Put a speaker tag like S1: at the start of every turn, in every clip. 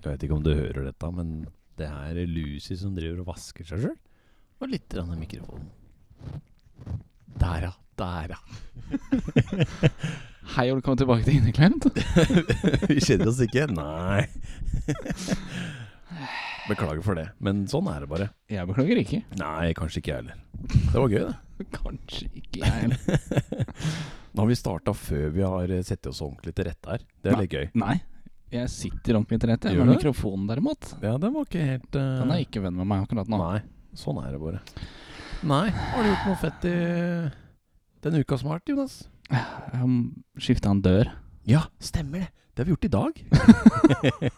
S1: Jeg vet ikke om du hører dette, men det er Lucy som driver og vasker seg sjøl. Og litt grann i mikrofonen. Der, ja. Der, ja.
S2: Hei og velkommen tilbake til Inneklemt.
S1: Vi kjenner oss ikke. Nei. Beklager for det, men sånn er det bare.
S2: Jeg beklager ikke.
S1: Nei, kanskje ikke jeg heller. Det var gøy, det.
S2: Kanskje ikke jeg.
S1: Nå har vi starta før vi har eh, sett oss ordentlig til rette her. Det er litt gøy.
S2: Nei, jeg sitter ordentlig til rette.
S1: Gjør
S2: Men
S1: du?
S2: mikrofonen derimot,
S1: Ja, den var ikke helt eh,
S2: den er ikke venn med meg akkurat nå.
S1: Nei, sånn er det bare. Nei, har du gjort noe fett i denne uka som har vært, Jonas?
S2: Um, Skifta en dør.
S1: Ja, stemmer det. Det har vi gjort i dag.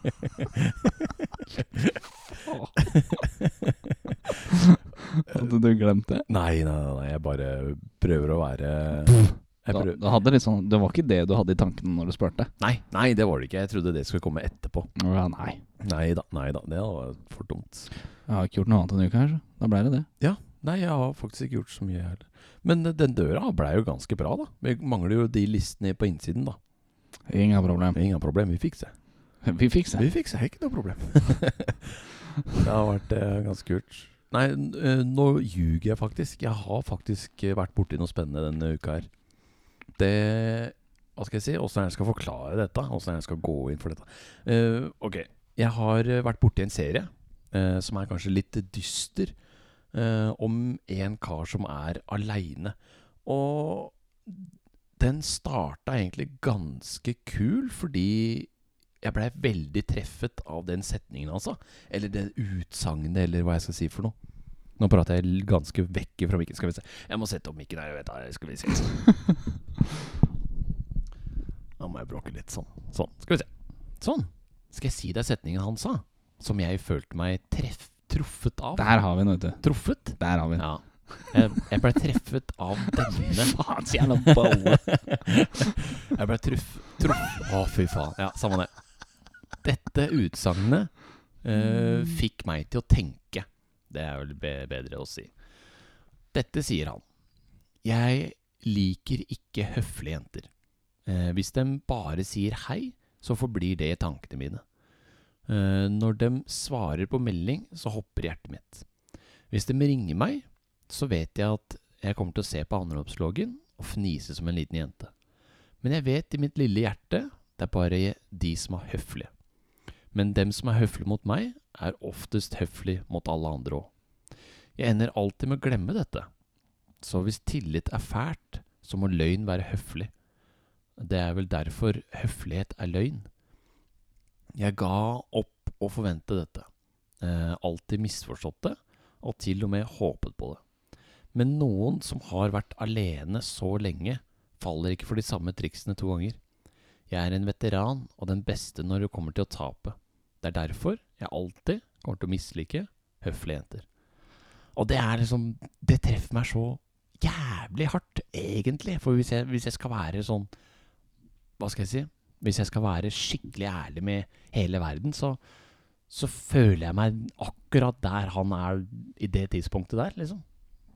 S2: Hadde du glemt det?
S1: Nei, nei, nei, nei, jeg bare prøver å være jeg
S2: Da,
S1: prøver.
S2: da hadde litt sånn, det var ikke det du hadde i tankene når du spurte.
S1: Nei, nei, det var det ikke. Jeg trodde det skulle komme etterpå.
S2: Å Ja, nei.
S1: Nei da, nei da. Det var for dumt.
S2: Jeg har ikke gjort noe annet enn uke her, så da ble det det.
S1: Nei, jeg har faktisk ikke gjort så mye heller. Men eh, den døra blei jo ganske bra, da. Vi mangler jo de listene på innsiden, da.
S2: Ingen problem.
S1: Ingen problem, vi fikser det.
S2: Vi fikser det.
S1: Vi fikser det, ikke noe problem. det har vært eh, ganske kult. Nei, n- eh, nå ljuger jeg faktisk. Jeg har faktisk eh, vært borti noe spennende denne uka her. Det Hva skal jeg si? Åssen er det jeg skal forklare dette? Åssen er det jeg skal gå inn for dette? Eh, ok, jeg har eh, vært borti en serie eh, som er kanskje litt dyster, eh, om en kar som er aleine. Og den starta egentlig ganske kul, fordi jeg blei veldig treffet av den setningen, altså. Eller det utsagnet, eller hva jeg skal si for noe. Nå prater jeg l- ganske vekk fra mikken. Skal vi se. Jeg må sette opp mikken her. jeg Vet, da. skal vi se. Da må jeg bråke litt. Sånn. Sånn. Skal vi se. Sånn. Skal jeg si deg setningen han sa? Som jeg følte meg treff, truffet av.
S2: Der har vi den, vet du.
S1: Truffet?
S2: Der har vi den.
S1: Ja. Jeg, jeg ble treffet av denne
S2: Faen, så jævla bolle.
S1: Jeg ble truff... Truff... Å, fy faen. Ja, samme det. Dette utsagnet eh, fikk meg til å tenke. Det er vel be bedre å si. Dette sier han. Jeg liker ikke høflige jenter. Eh, hvis de bare sier hei, så forblir det i tankene mine. Eh, når de svarer på melding, så hopper hjertet mitt. Hvis de ringer meg, så vet jeg at jeg kommer til å se på anropsloggen og fnise som en liten jente. Men jeg vet i mitt lille hjerte det er bare de som er høflige. Men dem som er høflige mot meg, er oftest høflige mot alle andre òg. Jeg ender alltid med å glemme dette. Så hvis tillit er fælt, så må løgn være høflig. Det er vel derfor høflighet er løgn. Jeg ga opp å forvente dette. Eh, alltid misforstått det, og til og med håpet på det. Men noen som har vært alene så lenge, faller ikke for de samme triksene to ganger. Jeg er en veteran og den beste når det kommer til å tape. Det er derfor jeg alltid kommer til å mislike høflige jenter. Og det er liksom Det treffer meg så jævlig hardt, egentlig. For hvis jeg, hvis jeg skal være sånn Hva skal jeg si? Hvis jeg skal være skikkelig ærlig med hele verden, så, så føler jeg meg akkurat der han er i det tidspunktet der, liksom.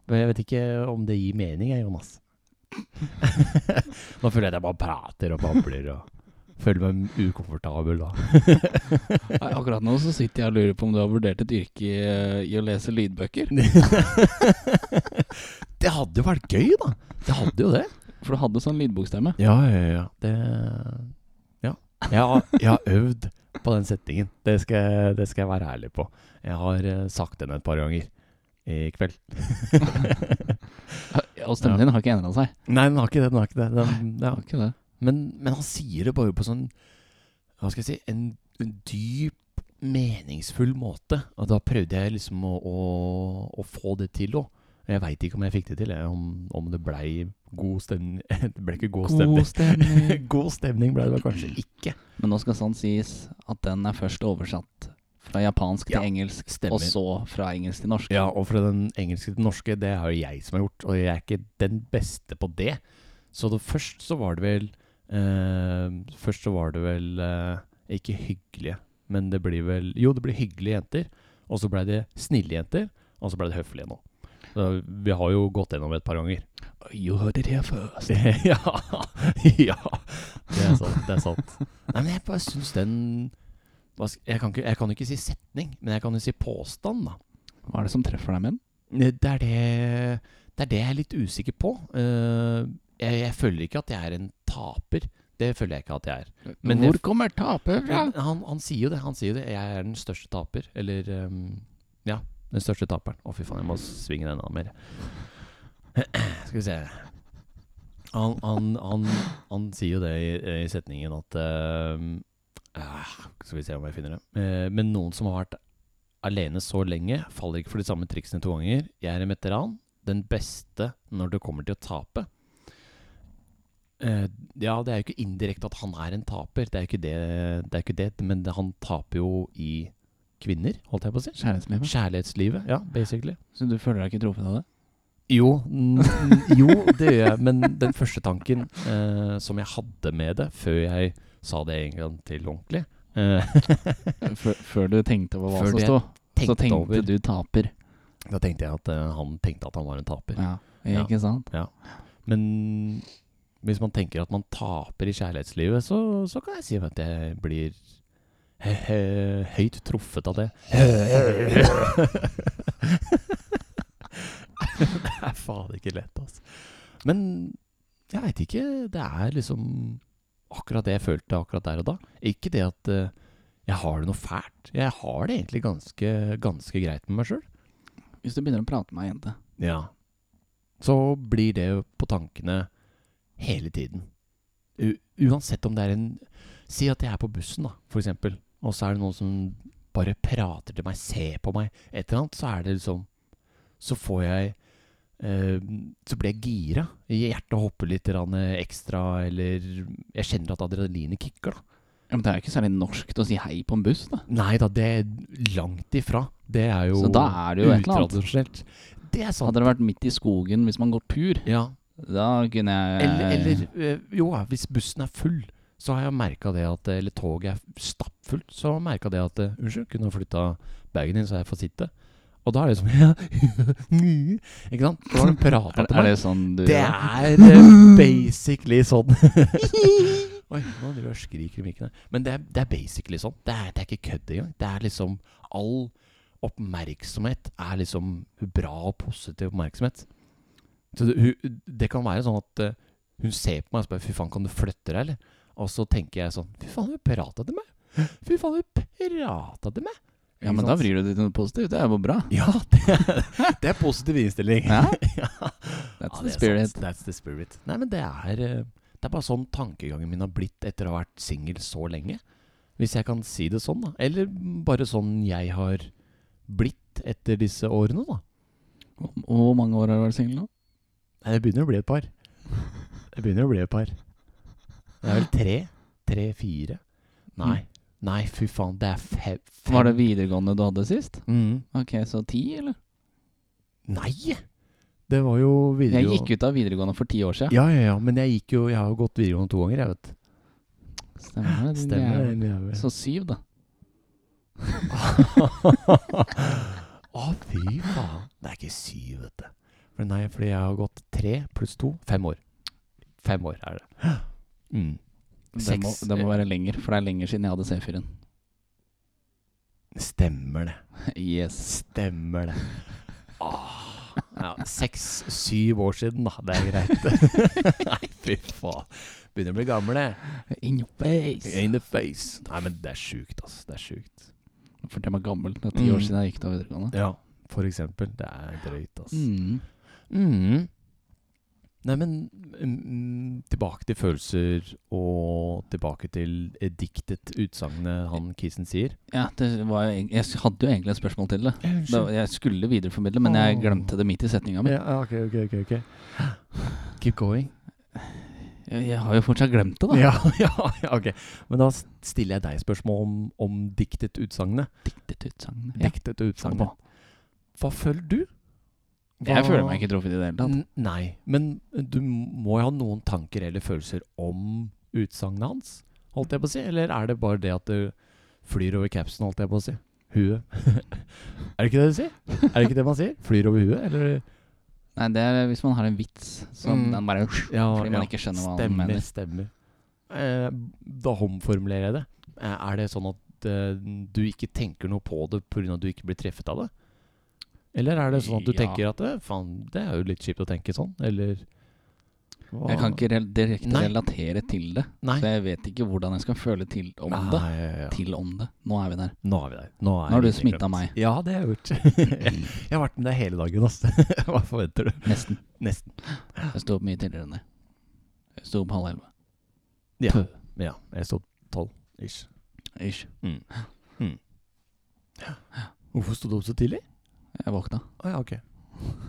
S1: Men jeg vet ikke om det gir mening, jeg, Jonas. Nå føler jeg at jeg bare prater og babler og føler meg ukomfortabel da.
S2: Nei, Akkurat nå så sitter jeg og lurer på om du har vurdert et yrke i, eh, i å lese lydbøker.
S1: det hadde jo vært gøy, da. Det hadde jo det.
S2: For du hadde sånn lydbokstemme.
S1: Ja, ja, ja. Det Ja. Jeg har, jeg har øvd på den setningen. Det skal, jeg- det skal jeg være ærlig på. Jeg har eh, sagt den et par ganger i kveld.
S2: Ja, Og stemmen din har ikke endra seg.
S1: Nei, den har ikke det. Den har ikke det. Den, ja.
S2: Har ikke det.
S1: Men, men han sier det bare på sånn Hva skal jeg si En, en dyp, meningsfull måte. Og da prøvde jeg liksom å, å, å få det til òg. Jeg veit ikke om jeg fikk det til, jeg, om, om det blei god stemning Det ble ikke god stemning.
S2: God stemning.
S1: God stemning ble det vel kanskje ikke.
S2: Men nå skal sånn sies at den er først oversatt fra japansk til
S1: Ja,
S2: engelsk, og
S1: Stemmer.
S2: så fra engelsk til norsk.
S1: Ja, og fra den engelske til den norske, det er jo jeg som har gjort, og jeg er ikke den beste på det. Så det, først så var det vel eh, Først så var det vel eh, ikke hyggelige, men det blir vel Jo, det blir hyggelige jenter, og så blei det snille jenter, og så blei det høflige nå. Så vi har jo gått gjennom det et par ganger.
S2: You heard it here first.
S1: ja, ja. Det er sant. Det er sant. Nei, men jeg bare syns den hva sk- Jeg kan, ikke, jeg kan jo ikke si setning, men jeg kan jo si påstand, da.
S2: Hva er det som treffer deg med den?
S1: Ne, Eh, Det er det, det er det jeg er litt usikker på. Eh, jeg, jeg føler ikke at jeg er en taper. Det føler jeg ikke at jeg er. Men
S2: Hvor
S1: det-
S2: kommer tapet fra?
S1: Men han, han sier jo det. Han sier jo det. Jeg er den største taper. Eller ehm, Ja, den største taperen. Å, fy faen, jeg må svinge den av mer. Skal vi se Han, han, han, han sier jo det i, i setningen at ehm, ah, Skal vi se om jeg finner det. Eh, men noen som har vært alene så lenge, faller ikke for de samme triksene to ganger. Jeg er en veteran. Den beste når det kommer til å tape. Eh, ja, det er jo ikke indirekte at han er en taper. Det er jo ikke det, det, er jo ikke det men det, han taper jo i kvinner, holdt jeg på å si.
S2: Kjærlighetslivet.
S1: Kjærlighetslivet, ja, basically.
S2: Så du føler deg ikke truffet av det?
S1: Jo, n- n- jo, det gjør jeg. Men den første tanken eh, som jeg hadde med det, før jeg sa det en gang til ordentlig eh,
S2: Før, før du tenkte over hva
S1: Før
S2: som
S1: det
S2: sto, så
S1: tenkte
S2: tenkte
S1: over,
S2: du taper.
S1: Da tenkte jeg at eh, han tenkte at han var en taper.
S2: Ja,
S1: Ja.
S2: ikke sant?
S1: Men hvis man tenker at man taper i kjærlighetslivet, så, så kan jeg si at jeg blir he he høyt truffet av det. det er faen ikke lett, altså. Men jeg veit ikke. Det er liksom akkurat det jeg følte akkurat der og da. Ikke det at eh, jeg har det noe fælt. Jeg har det egentlig ganske, ganske greit med meg sjøl.
S2: Hvis du begynner å prate med ei jente
S1: Ja. Så blir det på tankene hele tiden. U uansett om det er en Si at jeg er på bussen, da, for eksempel, og så er det noen som bare prater til meg, ser på meg, et eller annet, så er det liksom Så får jeg eh, Så blir jeg gira. Hjertet hopper litt grann, eh, ekstra, eller Jeg kjenner at adrenalinet kicker, da.
S2: ja, men Det er jo ikke særlig norskt å si hei på en buss, da.
S1: Nei da, det er langt ifra. Det er jo
S2: Så da er det jo et eller annet.
S1: utradisjonelt. Det er sant.
S2: Hadde det vært midt i skogen hvis man går tur,
S1: Ja.
S2: da kunne jeg
S1: Eller, eller eh, jo, ja, hvis bussen er full, så har jeg merka det at eh, Eller toget er stappfullt, så har jeg merka det at eh, Unnskyld, kunne du flytta bagen din så jeg får sitte? Og da er det som ja, Ikke sant? Da har de prata
S2: er,
S1: til
S2: er
S1: meg.
S2: det mm. sånn du
S1: Det er eh, basically sånn. Oi, nå driver jeg og skriker i mikken her. Men det er, det er basically sånn. Det er, det er ikke kødd engang. Det er liksom All oppmerksomhet er liksom bra og positiv oppmerksomhet. Så det, hun, det kan være sånn at eh, hun ser på meg og spør 'fy faen, kan du flytte deg', eller? Og så tenker jeg sånn 'fy faen, hun prata til meg'. Fy faen, hun prata til meg.
S2: Ja, men
S1: Ikke
S2: da
S1: sant?
S2: vrir du det til noe positivt. Det er jo bra.
S1: Ja, det er, det er positiv innstilling.
S2: Ja,
S1: ja. Ja,
S2: That's the
S1: det er
S2: spirit.
S1: sant. That's the spirit. Nei, men det er eh, Det er bare sånn tankegangen min har blitt etter å ha vært singel så lenge. Hvis jeg kan si det sånn, da. Eller bare sånn jeg har blitt etter disse årene, da.
S2: Hvor hvor mange år har du vært singel nå?
S1: Nei, det begynner å bli et par. Det begynner å bli et par. Det er vel tre? Tre-fire? Nei. Nei, fy faen. Det er fe- fem.
S2: Mm. Var det videregående du hadde sist?
S1: Mm.
S2: Ok, så ti, eller?
S1: Nei! Det var jo
S2: Jeg
S1: video...
S2: gikk ut av videregående for ti år siden.
S1: Ja, ja, ja. Men jeg gikk jo Jeg har jo gått videregående to ganger, jeg, vet
S2: Stemmer
S1: Stemmer
S2: det?
S1: det.
S2: Stemmer.
S1: din jævel.
S2: Så syv, da.
S1: Å, fy faen. Det er ikke syv, vet du. For nei, fordi jeg har gått tre pluss to. Fem år. Fem år er det. Mm.
S2: Det må,
S1: Seks.
S2: det må være lenger, for det er lenger siden jeg hadde C4-en.
S1: Stemmer det.
S2: Yes.
S1: Stemmer det. Åh. Ja, Seks-syv år siden, da. Det er greit. nei, fy faen. Begynner å bli gammel, jeg.
S2: In your face.
S1: In the face. Nei, men det er sjukt, altså. Det er sjukt.
S2: For det var gammelt. Det er ti
S1: Mm.
S2: år siden jeg gikk ut av videregående.
S1: Ja, for eksempel. Det er drøyt, altså.
S2: Mm.
S1: Mm. Nei, men mm, tilbake til følelser og tilbake til eh, diktet utsagnet han Kisen sier.
S2: Ja, det var, jo eg- jeg hadde jo egentlig et spørsmål til det. det var- jeg skulle videreformidle, men jeg
S1: Åh.
S2: glemte det midt i setninga mi.
S1: Ja, ok, ok, ok, ok. Keep going.
S2: Jeg, jeg har jo fortsatt glemt det, da.
S1: Ja, ja, ja, ok. Men da s- stiller jeg deg spørsmål om, om diktet utsagnet.
S2: Diktet utsagnet. Ja.
S1: Diktet utsagnet. Hva føler du?
S2: Jeg føler meg ikke truffet i det hele tatt.
S1: N- Nei, men du må jo ha noen tanker eller følelser om utsagnet hans, holdt jeg på å si? Eller er det bare det at du flyr over capsen, holdt jeg på å si? Huet. er det ikke det du sier? Er det ikke det man sier? Flyr over huet, eller?
S2: Nei, det er hvis man har en vits som
S1: Mm.
S2: den bare
S1: Ja,
S2: Fordi man ikke skjønner hva han
S1: stemmer,
S2: mener.
S1: Stemmer, stemmer. Eh, da omformulerer jeg det. Eh, er det sånn at at eh, du ikke tenker noe på det pga. at du ikke blir treffet av det? Eller er det sånn at du
S2: Ja.
S1: tenker at eh, faen, det er jo litt kjipt å tenke sånn, eller Hva?
S2: Jeg kan ikke rel direkte
S1: Nei.
S2: relatere til det,
S1: Nei.
S2: så jeg vet ikke hvordan jeg skal føle til om det.
S1: Nei, ja, ja.
S2: Til om det. Nå er vi der.
S1: Nå er vi der. Nå, er
S2: Nå har du
S1: vi egentlig
S2: smittet
S1: glemt.
S2: meg.
S1: Ja, det har jeg gjort. jeg har vært med deg hele dagen, ass. Hva forventer du?
S2: Nesten.
S1: Nesten.
S2: Jeg sto opp mye tidligere enn det. Jeg sto opp halv elleve.
S1: Ja,
S2: Pø.
S1: ja jeg sto tolv ish.
S2: Ish.
S1: Hvorfor sto du opp så tidlig?
S2: Jeg våkna.
S1: Å ja, ok.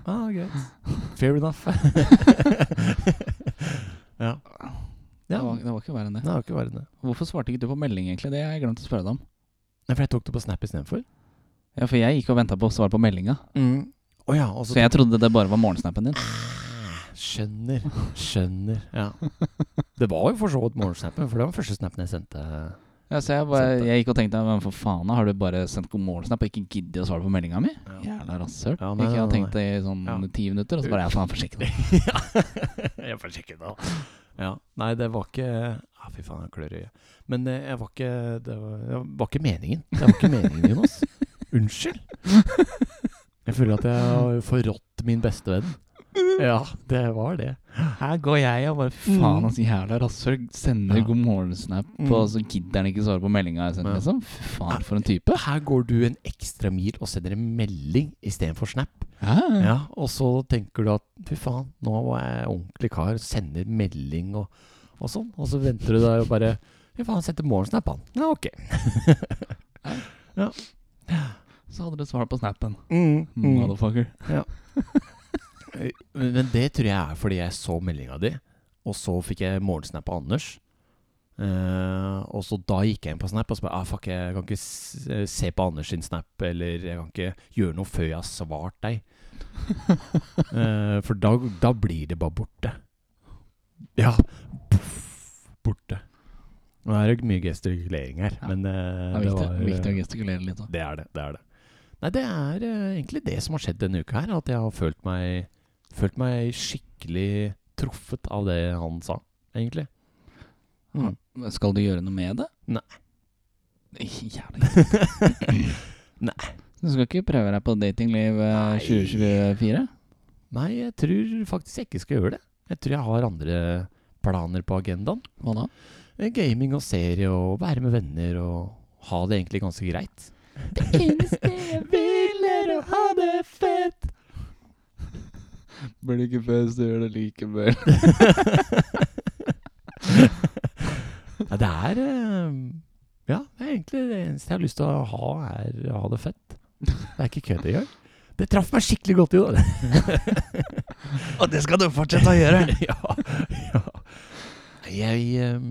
S1: Ah, greit. Fair enough. ja.
S2: Det,
S1: ja.
S2: var, det var ikke verre enn det.
S1: Nei, det var ikke verre enn det.
S2: Hvorfor svarte ikke du på melding, egentlig? Det har jeg glemt å spørre deg om.
S1: Nei, for jeg tok det på Snap istedenfor.
S2: Ja, For jeg gikk og venta på svar på meldinga,
S1: Å ja, og så
S2: Mm. så jeg trodde det bare var morgensnappen din.
S1: Skjønner. Skjønner. Ja. Det var jo for så vidt morgensnappen, for det var den første snappen jeg sendte.
S2: Ja, så jeg, bare, jeg gikk og tenkte men for faen, har du bare sendt god morgensnap og ikke giddet å svare på meldinga mi? Jævla rasshøl.
S1: Ja, nei,
S2: ikke jeg har
S1: nei,
S2: tenkt det i sånn
S1: Ja.
S2: ti minutter, og så bare er jeg faen forsiktig.
S1: ja. jeg får sjekke det. da. Ja. Nei, det var ikke ah, Fy faen, jeg klør i øyet. Men eh, jeg var ikke Det var, det var ikke meningen. Det var ikke meningen, Jonas. Unnskyld. Jeg føler at jeg har forrådt min beste venn. Ja, det var det. Her går jeg og bare
S2: Faen, altså, jævla rasshøl sender
S1: Mm. Ja.
S2: god morgensnap,
S1: Mm.
S2: og så gidder han ikke svare på meldinga jeg sendte,
S1: Ja.
S2: liksom. Fy faen, for en type.
S1: Her går du en ekstra mil og sender en melding istedenfor Snap.
S2: Ja.
S1: Ja, og så tenker du at fy faen, nå var jeg ordentlig kar, sender melding og, og sånn. Og så venter du deg og bare Fy faen, setter morgensnap, han. Ja, ok.
S2: Så hadde du svar på snappen.
S1: Mm.
S2: Motherfucker.
S1: Men men det tror jeg er fordi jeg så meldinga di, og så fikk jeg morgensnap av Anders. Eh, og så da gikk jeg inn på Snap og så bare ah, fuck, jeg kan ikke s- eh, se på Anders sin Snap, eller jeg kan ikke gjøre noe før jeg har svart deg. Eh, for da, da blir det bare borte. Ja. Puff, borte. Nå er det mye gestikulering her,
S2: Ja.
S1: men eh,
S2: Det
S1: det,
S2: er viktig,
S1: var,
S2: viktig å gestikulere litt òg.
S1: det er det. Det er det. Nei, det er eh, egentlig det som har skjedd denne uka her. At jeg har følt meg, følt meg skikkelig truffet av det han sa, egentlig. Mm.
S2: Skal du gjøre noe med det?
S1: Nei.
S2: Jævlig.
S1: Nei.
S2: Du skal ikke prøve deg på datingliv eh,
S1: Nei.
S2: 2024?
S1: Nei, jeg tror faktisk jeg ikke skal gjøre det. Jeg tror jeg har andre planer på agendaen.
S2: Hva da?
S1: Eh, Gaming og serie og være med venner og ha det egentlig ganske greit.
S2: Det eneste jeg vil er å ha det fett. Blir det ikke fest, du gjør det likevel.
S1: Ja, det er eh, Ja, det er egentlig det eneste jeg har lyst til å ha, er å ha det fett. Det er ikke kødd engang. Det traff meg skikkelig godt i år.
S2: Og det skal du fortsette å gjøre!
S1: ja, ja. Jeg eh,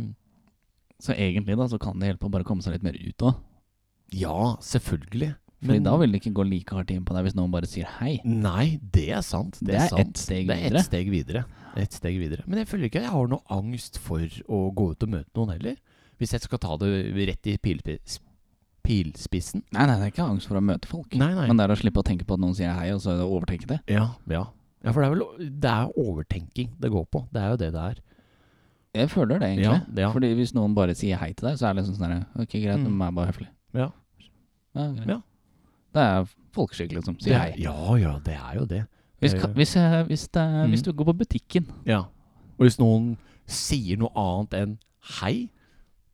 S2: Så egentlig da, så kan det hjelpe å bare komme seg litt mer ut òg.
S1: Ja, selvfølgelig.
S2: Fordi da vil det ikke gå like hardt inn på deg hvis noen bare sier hei.
S1: Nei, det er sant. Det,
S2: Det
S1: er,
S2: er
S1: sant.
S2: ett steg
S1: det er
S2: videre.
S1: ett steg videre. Et steg videre. Men jeg føler ikke jeg har noe angst for å gå ut og møte noen heller. Hvis jeg skal ta det rett i pilpis- pilspissen.
S2: Nei, nei, det er ikke angst for å møte folk.
S1: Nei, nei.
S2: Men det er å slippe å tenke på at noen sier hei, og så overtenke det.
S1: ja, ja. ja, for det er vel det er overtenking det går på. Det er jo det det er.
S2: Jeg føler det, egentlig.
S1: Ja, ja.
S2: Fordi hvis noen bare sier hei til deg, så er det liksom sånn her Ok, greit,
S1: Mm.
S2: de er bare høflige.
S1: Ja.
S2: Ja, greit.
S1: Ja.
S2: Det er folkeskikk, liksom. Si
S1: Det er-
S2: hei.
S1: Ja, ja, det er jo det.
S2: Hvis,
S1: det er
S2: ka-
S1: jo-
S2: hvis, eh, hvis, det, er-
S1: Mm.
S2: hvis du går på butikken
S1: Ja. Og hvis noen sier noe annet enn hei,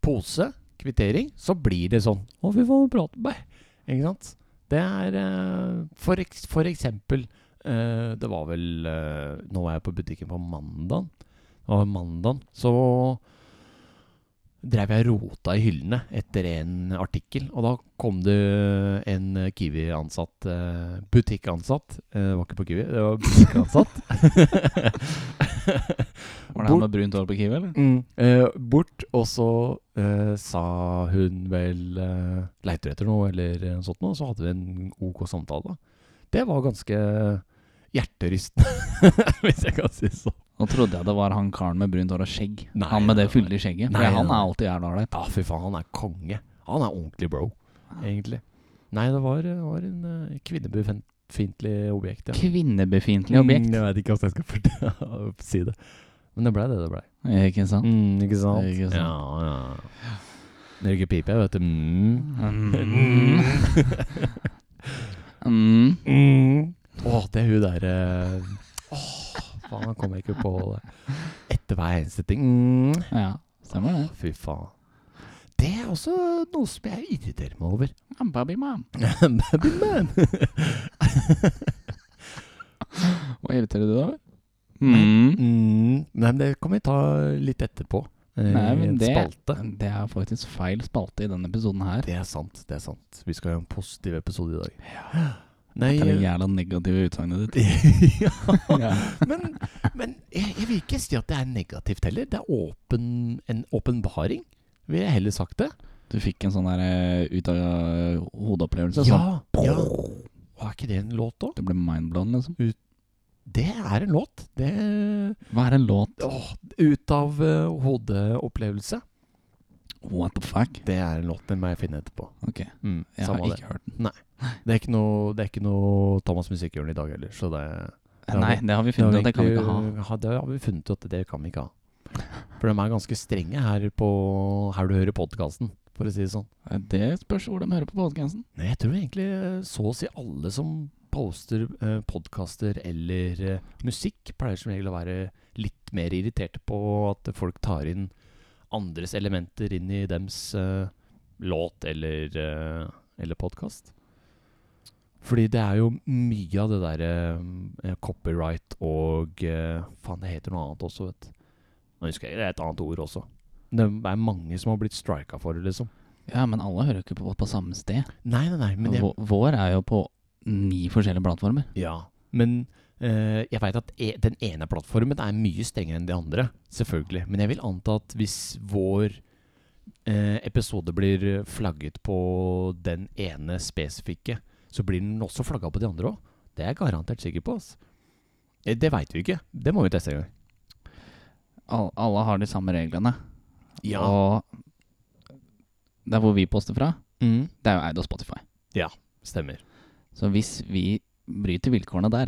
S1: pose, kvittering, så blir det sånn. Å, fy faen, prate med meg. Ikke sant? Det er eh, for, eks for eksempel eh, Det var vel eh, Nå var jeg på butikken på mandag. Og mandag så drev jeg og rota i hyllene etter en artikkel. Og da kom det en Kiwi-ansatt eh, Butikkansatt. eh, Det var ikke på Kiwi, det var butikkansatt.
S2: Var det
S1: Bort-
S2: han med brunt hår på Kiwi, eller?
S1: Eh, bort, og så eh, sa hun vel eh, Leiter du etter noe, eller noe sånt noe? Så hadde vi en ok samtale. Det var ganske hjerterystende, hvis jeg kan si det sånn.
S2: Nå trodde jeg det var han karen med brunt hår og skjegg.
S1: Nei,
S2: han med det
S1: nei,
S2: fyldige skjegget.
S1: Nei,
S2: Nei, han
S1: nei.
S2: er alltid jævla ålreit.
S1: Ja, fy faen, han er konge. Han er ordentlig bro, egentlig. Nei, det var, det var en uh, kvinnebefiendtlig objekt, ja.
S2: Kvinnebefiendtlig objekt.
S1: Mm, jeg vet ikke hvordan jeg skal fortelle- si
S2: Mm. eh,
S1: det. Men det blei det det blei.
S2: Ikke sant?
S1: ikke
S2: sant?
S1: Ja, ja. Røyker pipe, vet du. Mm.
S2: Mm. Mm.
S1: Mm. Å, det er hun der eh, Åh, faen, han kommer ikke på det. Etter hver eneste ting. Mm.
S2: Ja, stemmer det.
S1: Fy faen. Det er også noe som jeg irriterer meg over. Mm.
S2: I'm Bobby Mom.
S1: Baby man.
S2: Hva irriterer du deg over? Mm.
S1: Mm. Nei, men det kan vi ta litt etterpå. eh,
S2: Nei,
S1: I
S2: men
S1: en
S2: det-
S1: spalte.
S2: Det er faktisk feil spalte i denne episoden her.
S1: Det er sant, det er sant. Vi skal ha en positiv episode i dag. Nei, eh,
S2: Det er det jævla negative utsagnet ditt.
S1: ja. Men, men jeg, jeg vil ikke si at det er negativt heller. Det er åpen, en åpenbaring, vil jeg heller sagt det.
S2: Du fikk en sånn der eh, ut av eh, hodeopplevelse. Sånn.
S1: Ja, ja. Og er ikke det en låt, da?
S2: Det ble mindblown, liksom.
S1: Det er en låt. Det
S2: Hva er en låt?
S1: Åh, Ut av eh, hodeopplevelse.
S2: What the fuck?
S1: Det er en låt, den må jeg finne etterpå.
S2: Ok.
S1: Mm,
S2: Jeg
S1: samme
S2: har
S1: det.
S2: ikke hørt den.
S1: Det er ikke noe, det er ikke noe Thomas Musikkhjørne i dag heller, så det, Ja,
S2: Nei,
S1: det-
S2: det har vi funnet ut. at Det kan vi ikke ha.
S1: egentlig- ha- Det har vi funnet ut at det kan vi ikke ha. For de er ganske strenge her på her du hører podkasten, for å si det sånn.
S2: Eh, Det spørs hvor de hører på podcasten.
S1: Nei, jeg tror egentlig eh, så å si alle som poster eh, podkaster eller eh, musikk, pleier som regel å være litt mer irriterte på at folk tar inn andres elementer inn i dems eh, låt eller, eh, eller podkast. Fordi det er jo mye av det derre eh, copyright og eh, Faen, det heter noe annet også, vet du. Nå husker jeg det er et annet ord også. Det er mange som har blitt strika for det, liksom.
S2: Ja, men alle hører jo ikke på på samme sted.
S1: Nei, nei, nei. Men jeg,
S2: Vå- Vår er jo på ni forskjellige plattformer.
S1: Ja, men eh, jeg veit at e den ene plattformen er mye strengere enn de andre, selvfølgelig. Men jeg vil anta at hvis vår eh, episode blir flagget på den ene spesifikke, så blir den også flagga på de andre òg. Det er jeg garantert sikker på. ass. Eh, Det veit vi ikke. Det må vi teste en gang.
S2: Al alle har de samme reglene. Og der hvor vi poster fra,
S1: Mm.
S2: det er jo eid av Spotify.
S1: Stemmer.
S2: Så hvis vi bryter vilkårene der,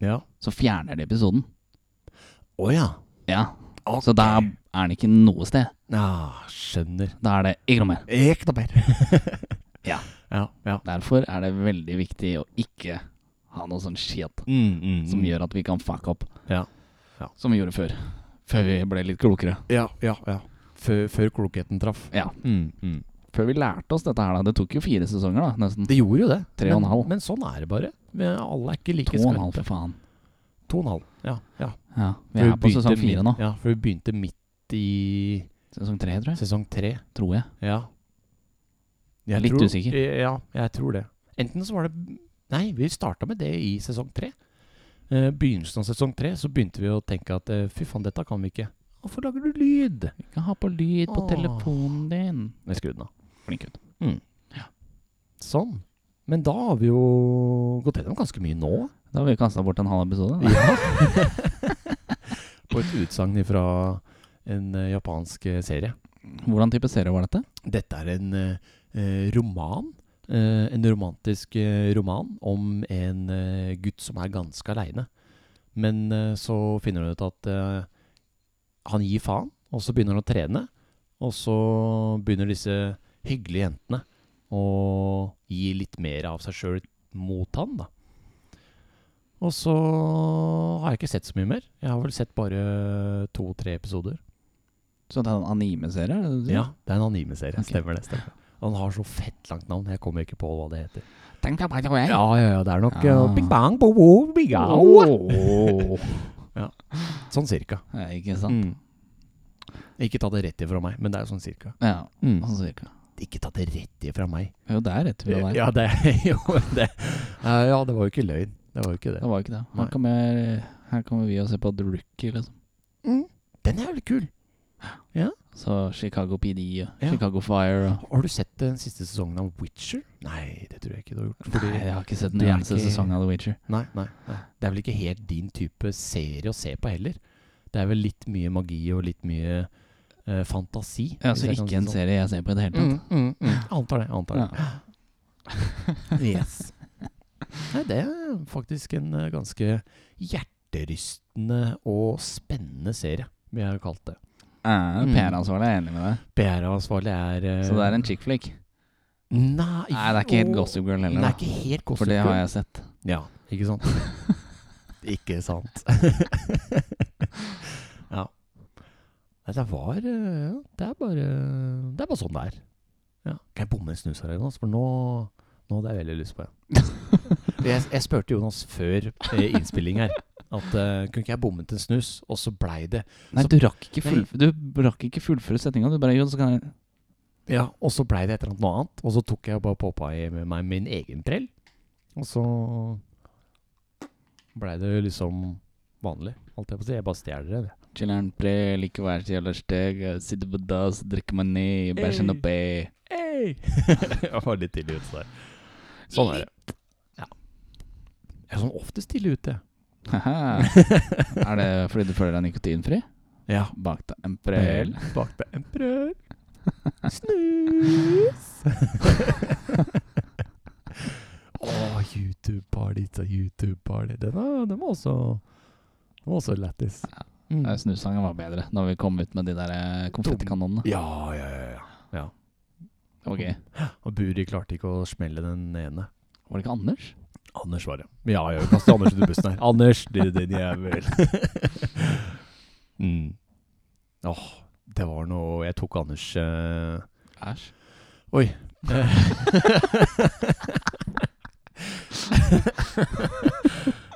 S1: Ja.
S2: så fjerner de episoden.
S1: Å ja.
S2: Ja. Så da er den ikke noe sted.
S1: ah, Skjønner.
S2: Da er det ikke noe mer.
S1: Ikke noe mer.
S2: Ja.
S1: ja. ja.
S2: Derfor er det veldig viktig å ikke ha noe sånn shit
S1: Mm, mm,
S2: som
S1: mm.
S2: gjør at vi kan fuck opp.
S1: Ja. Ja.
S2: Som vi gjorde før. Før vi ble litt klokere.
S1: Ja, ja, ja. Før, før klokheten traff.
S2: Ja.
S1: Mm, mm.
S2: Før vi lærte oss dette her, da. Det tok jo fire sesonger, da, nesten.
S1: Det gjorde jo det.
S2: Tre og en
S1: Men-
S2: halv.
S1: Men sånn er det bare. Vi er alle er ikke like
S2: To og en halv,
S1: skarpe.
S2: for faen.
S1: To og en halv. Ja. ja.
S2: Ja, vi
S1: For
S2: er på
S1: begynte
S2: sesong fire nå.
S1: midt- Ja, for vi begynte midt i
S2: Sesong tre, tror jeg.
S1: sesong tre.
S2: Tror jeg.
S1: Ja.
S2: Jeg er litt usikker.
S1: Ja, jeg tror det. Enten så var det Nei, vi starta med det i sesong tre. Eh, Begynnelsen av sesong tre så begynte vi å tenke at eh, fy faen, dette kan vi ikke. Hvorfor lager du lyd?
S2: Vi kan ha på lyd på
S1: Åh.
S2: telefonen din.
S1: Jeg skrudde den av.
S2: Flink gutt.
S1: Sånn. Men da har vi jo gått gjennom ganske mye nå.
S2: Da har vi kasta bort en halv episode. da.
S1: på et utsagn fra en eh, japansk eh, serie.
S2: Hvordan type serie var dette?
S1: Dette er en eh, eh, roman. eh, en romantisk eh, roman om en eh, gutt som er ganske aleine. Men eh, så finner han ut at eh, han gir faen, og så begynner han å trene. Og så begynner disse hyggelige jentene å gi litt mer av seg sjøl mot han, da. Og så har jeg ikke sett så mye mer. Jeg har vel sett bare to-tre episoder.
S2: Så det er en anime-serie? er det det du sier?
S1: Ja, det er en anime-serie.
S2: Ok.
S1: Stemmer det. stemmer det. Han har så fett langt navn. Jeg kommer ikke på hva det heter.
S2: Tenk deg bare det.
S1: Ja, ja, ja, det er nok
S2: Ah.
S1: eh, Bing Bang bo, bo, bing, au.
S2: Åh.
S1: Sånn cirka.
S2: Ja, ikke sant?
S1: Mm. Ikke ta det rett ifra meg, men det er jo sånn cirka.
S2: Ja,
S1: Mm.
S2: sånn cirka.
S1: Ikke ta det rett ifra meg.
S2: Jo, det er rett fra deg.
S1: Eh, Ja, det, jo, det. eh, ja, det var jo ikke løgn. Det var jo ikke
S2: Det
S1: det.
S2: var jo ikke det.
S1: Nei.
S2: Her kommer, her kommer vi og ser på The Rookie, liksom.
S1: Mm. Den er vel kul.
S2: Så Chicago PD og
S1: Ja.
S2: Chicago Fire og
S1: Har du sett den siste sesongen av Witcher? Nei, det tror jeg ikke du har gjort. Fordi,
S2: Nei, jeg har ikke sett den
S1: det er
S2: eneste
S1: ikke-
S2: sesongen av The Witcher.
S1: nei, nei, nei. Det er vel ikke helt din type serie å se på heller. Det er vel litt mye magi og litt mye eh, fantasi.
S2: Ja,
S1: hvis
S2: Så
S1: jeg kan
S2: ikke
S1: si
S2: en
S1: det sånn.
S2: serie jeg ser på i det hele tatt.
S1: Mm, mm, mm. Antar det. Antar det.
S2: Ja.
S1: Yes. Nei, det er faktisk en eh, ganske hjerterystende og spennende serie, vil jeg kalle det.
S2: er
S1: Mm.
S2: PR-ansvarlig, jeg er enig med deg.
S1: PR-ansvarlig er eh,
S2: Så det er en chick flick.
S1: Nei,
S2: Nei, det er ikke helt
S1: jo.
S2: Gossip Girl
S1: Det
S2: heller,
S1: er
S2: da.
S1: ikke helt gossip
S2: For det har
S1: Girl.
S2: jeg sett.
S1: Ja, ikke sant? ikke sant. ja. Nei, det var eh, Det er bare Det er bare sånn det er. Ja. Kan jeg bomme en snus her, Jonas? For nå, nå hadde jeg veldig lyst på en. jeg, jeg spurte Jonas før eh, innspilling her at eh, kunne ikke jeg bommet en snus, og så blei det
S2: Nei,
S1: Så-
S2: du rakk ikke,
S1: Nei.
S2: full, du rakk ikke fullføre setninga. Du bare jo, så kan jeg
S1: Ja, og så blei det et eller annet noe annet. Og så tok jeg bare poppa i med meg min egen prell. Og så blei det liksom vanlig, holdt jeg på å si. Jeg bare stjeler det. jeg.
S2: Chiller'n pre, like hver jævla steg, jeg sitter på dass, drikker meg eh. ned, bæsjen
S1: Hey.
S2: oppi
S1: jeg var litt tidlig ute der. Sånn er det. Ja. Jeg er sånn oftest tidlig ute.
S2: Haha. Er det fordi du føler deg nikotinfri?
S1: Ja.
S2: Bak deg en prel.
S1: Bak deg en prøl. Snus. Å, YouTube-party. it's a YouTube-party. Den, er- den var også Den var også lættis. Mm.
S2: Nei, Snusangen Eh, var bedre når vi kom ut med de der eh, konfettikanonene.
S1: Ja, ja, ja, ja.
S2: Det var gøy.
S1: Og Buri klarte ikke å smelle den ene.
S2: Var det ikke Anders?
S1: Anders var det. Ja, ja, vi kaster Anders under bussen her. Anders, du din jævel. mm. Åh, det var noe Jeg tok Anders eh,
S2: Æsj.
S1: Oi. Eh.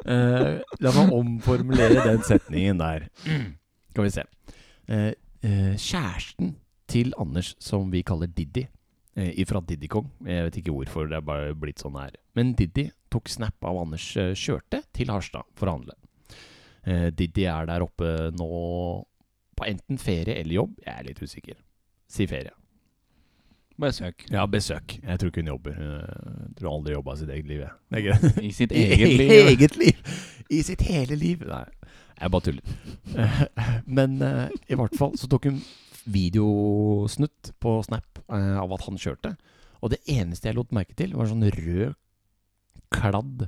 S1: Eh, la meg omformulere den setningen der. Skal vi se. Eh, eh, kjæresten til Anders, som vi kaller Diddy, eh, ifra Diddy-kong Jeg vet ikke hvorfor, det er bare blitt sånn her. Men Diddy tok snap av Anders eh, kjørte til Harstad for å handle. Eh, Diddy er der oppe nå på enten ferie eller jobb. Jeg er litt usikker. Si ferie.
S2: Bare søk.
S1: Ja, besøk. Jeg tror ikke hun jobber. Hun tror aldri jobba sitt eget liv. jeg. Det er ikke det.
S2: I sitt
S1: I
S2: eget
S1: I
S2: liv.
S1: eget liv! I sitt hele liv. Nei, jeg bare tuller. Eh, Men eh, i hvert fall så tok hun videosnutt på Snap eh, av at han kjørte. Og det eneste jeg lot merke til, var sånn rød kladd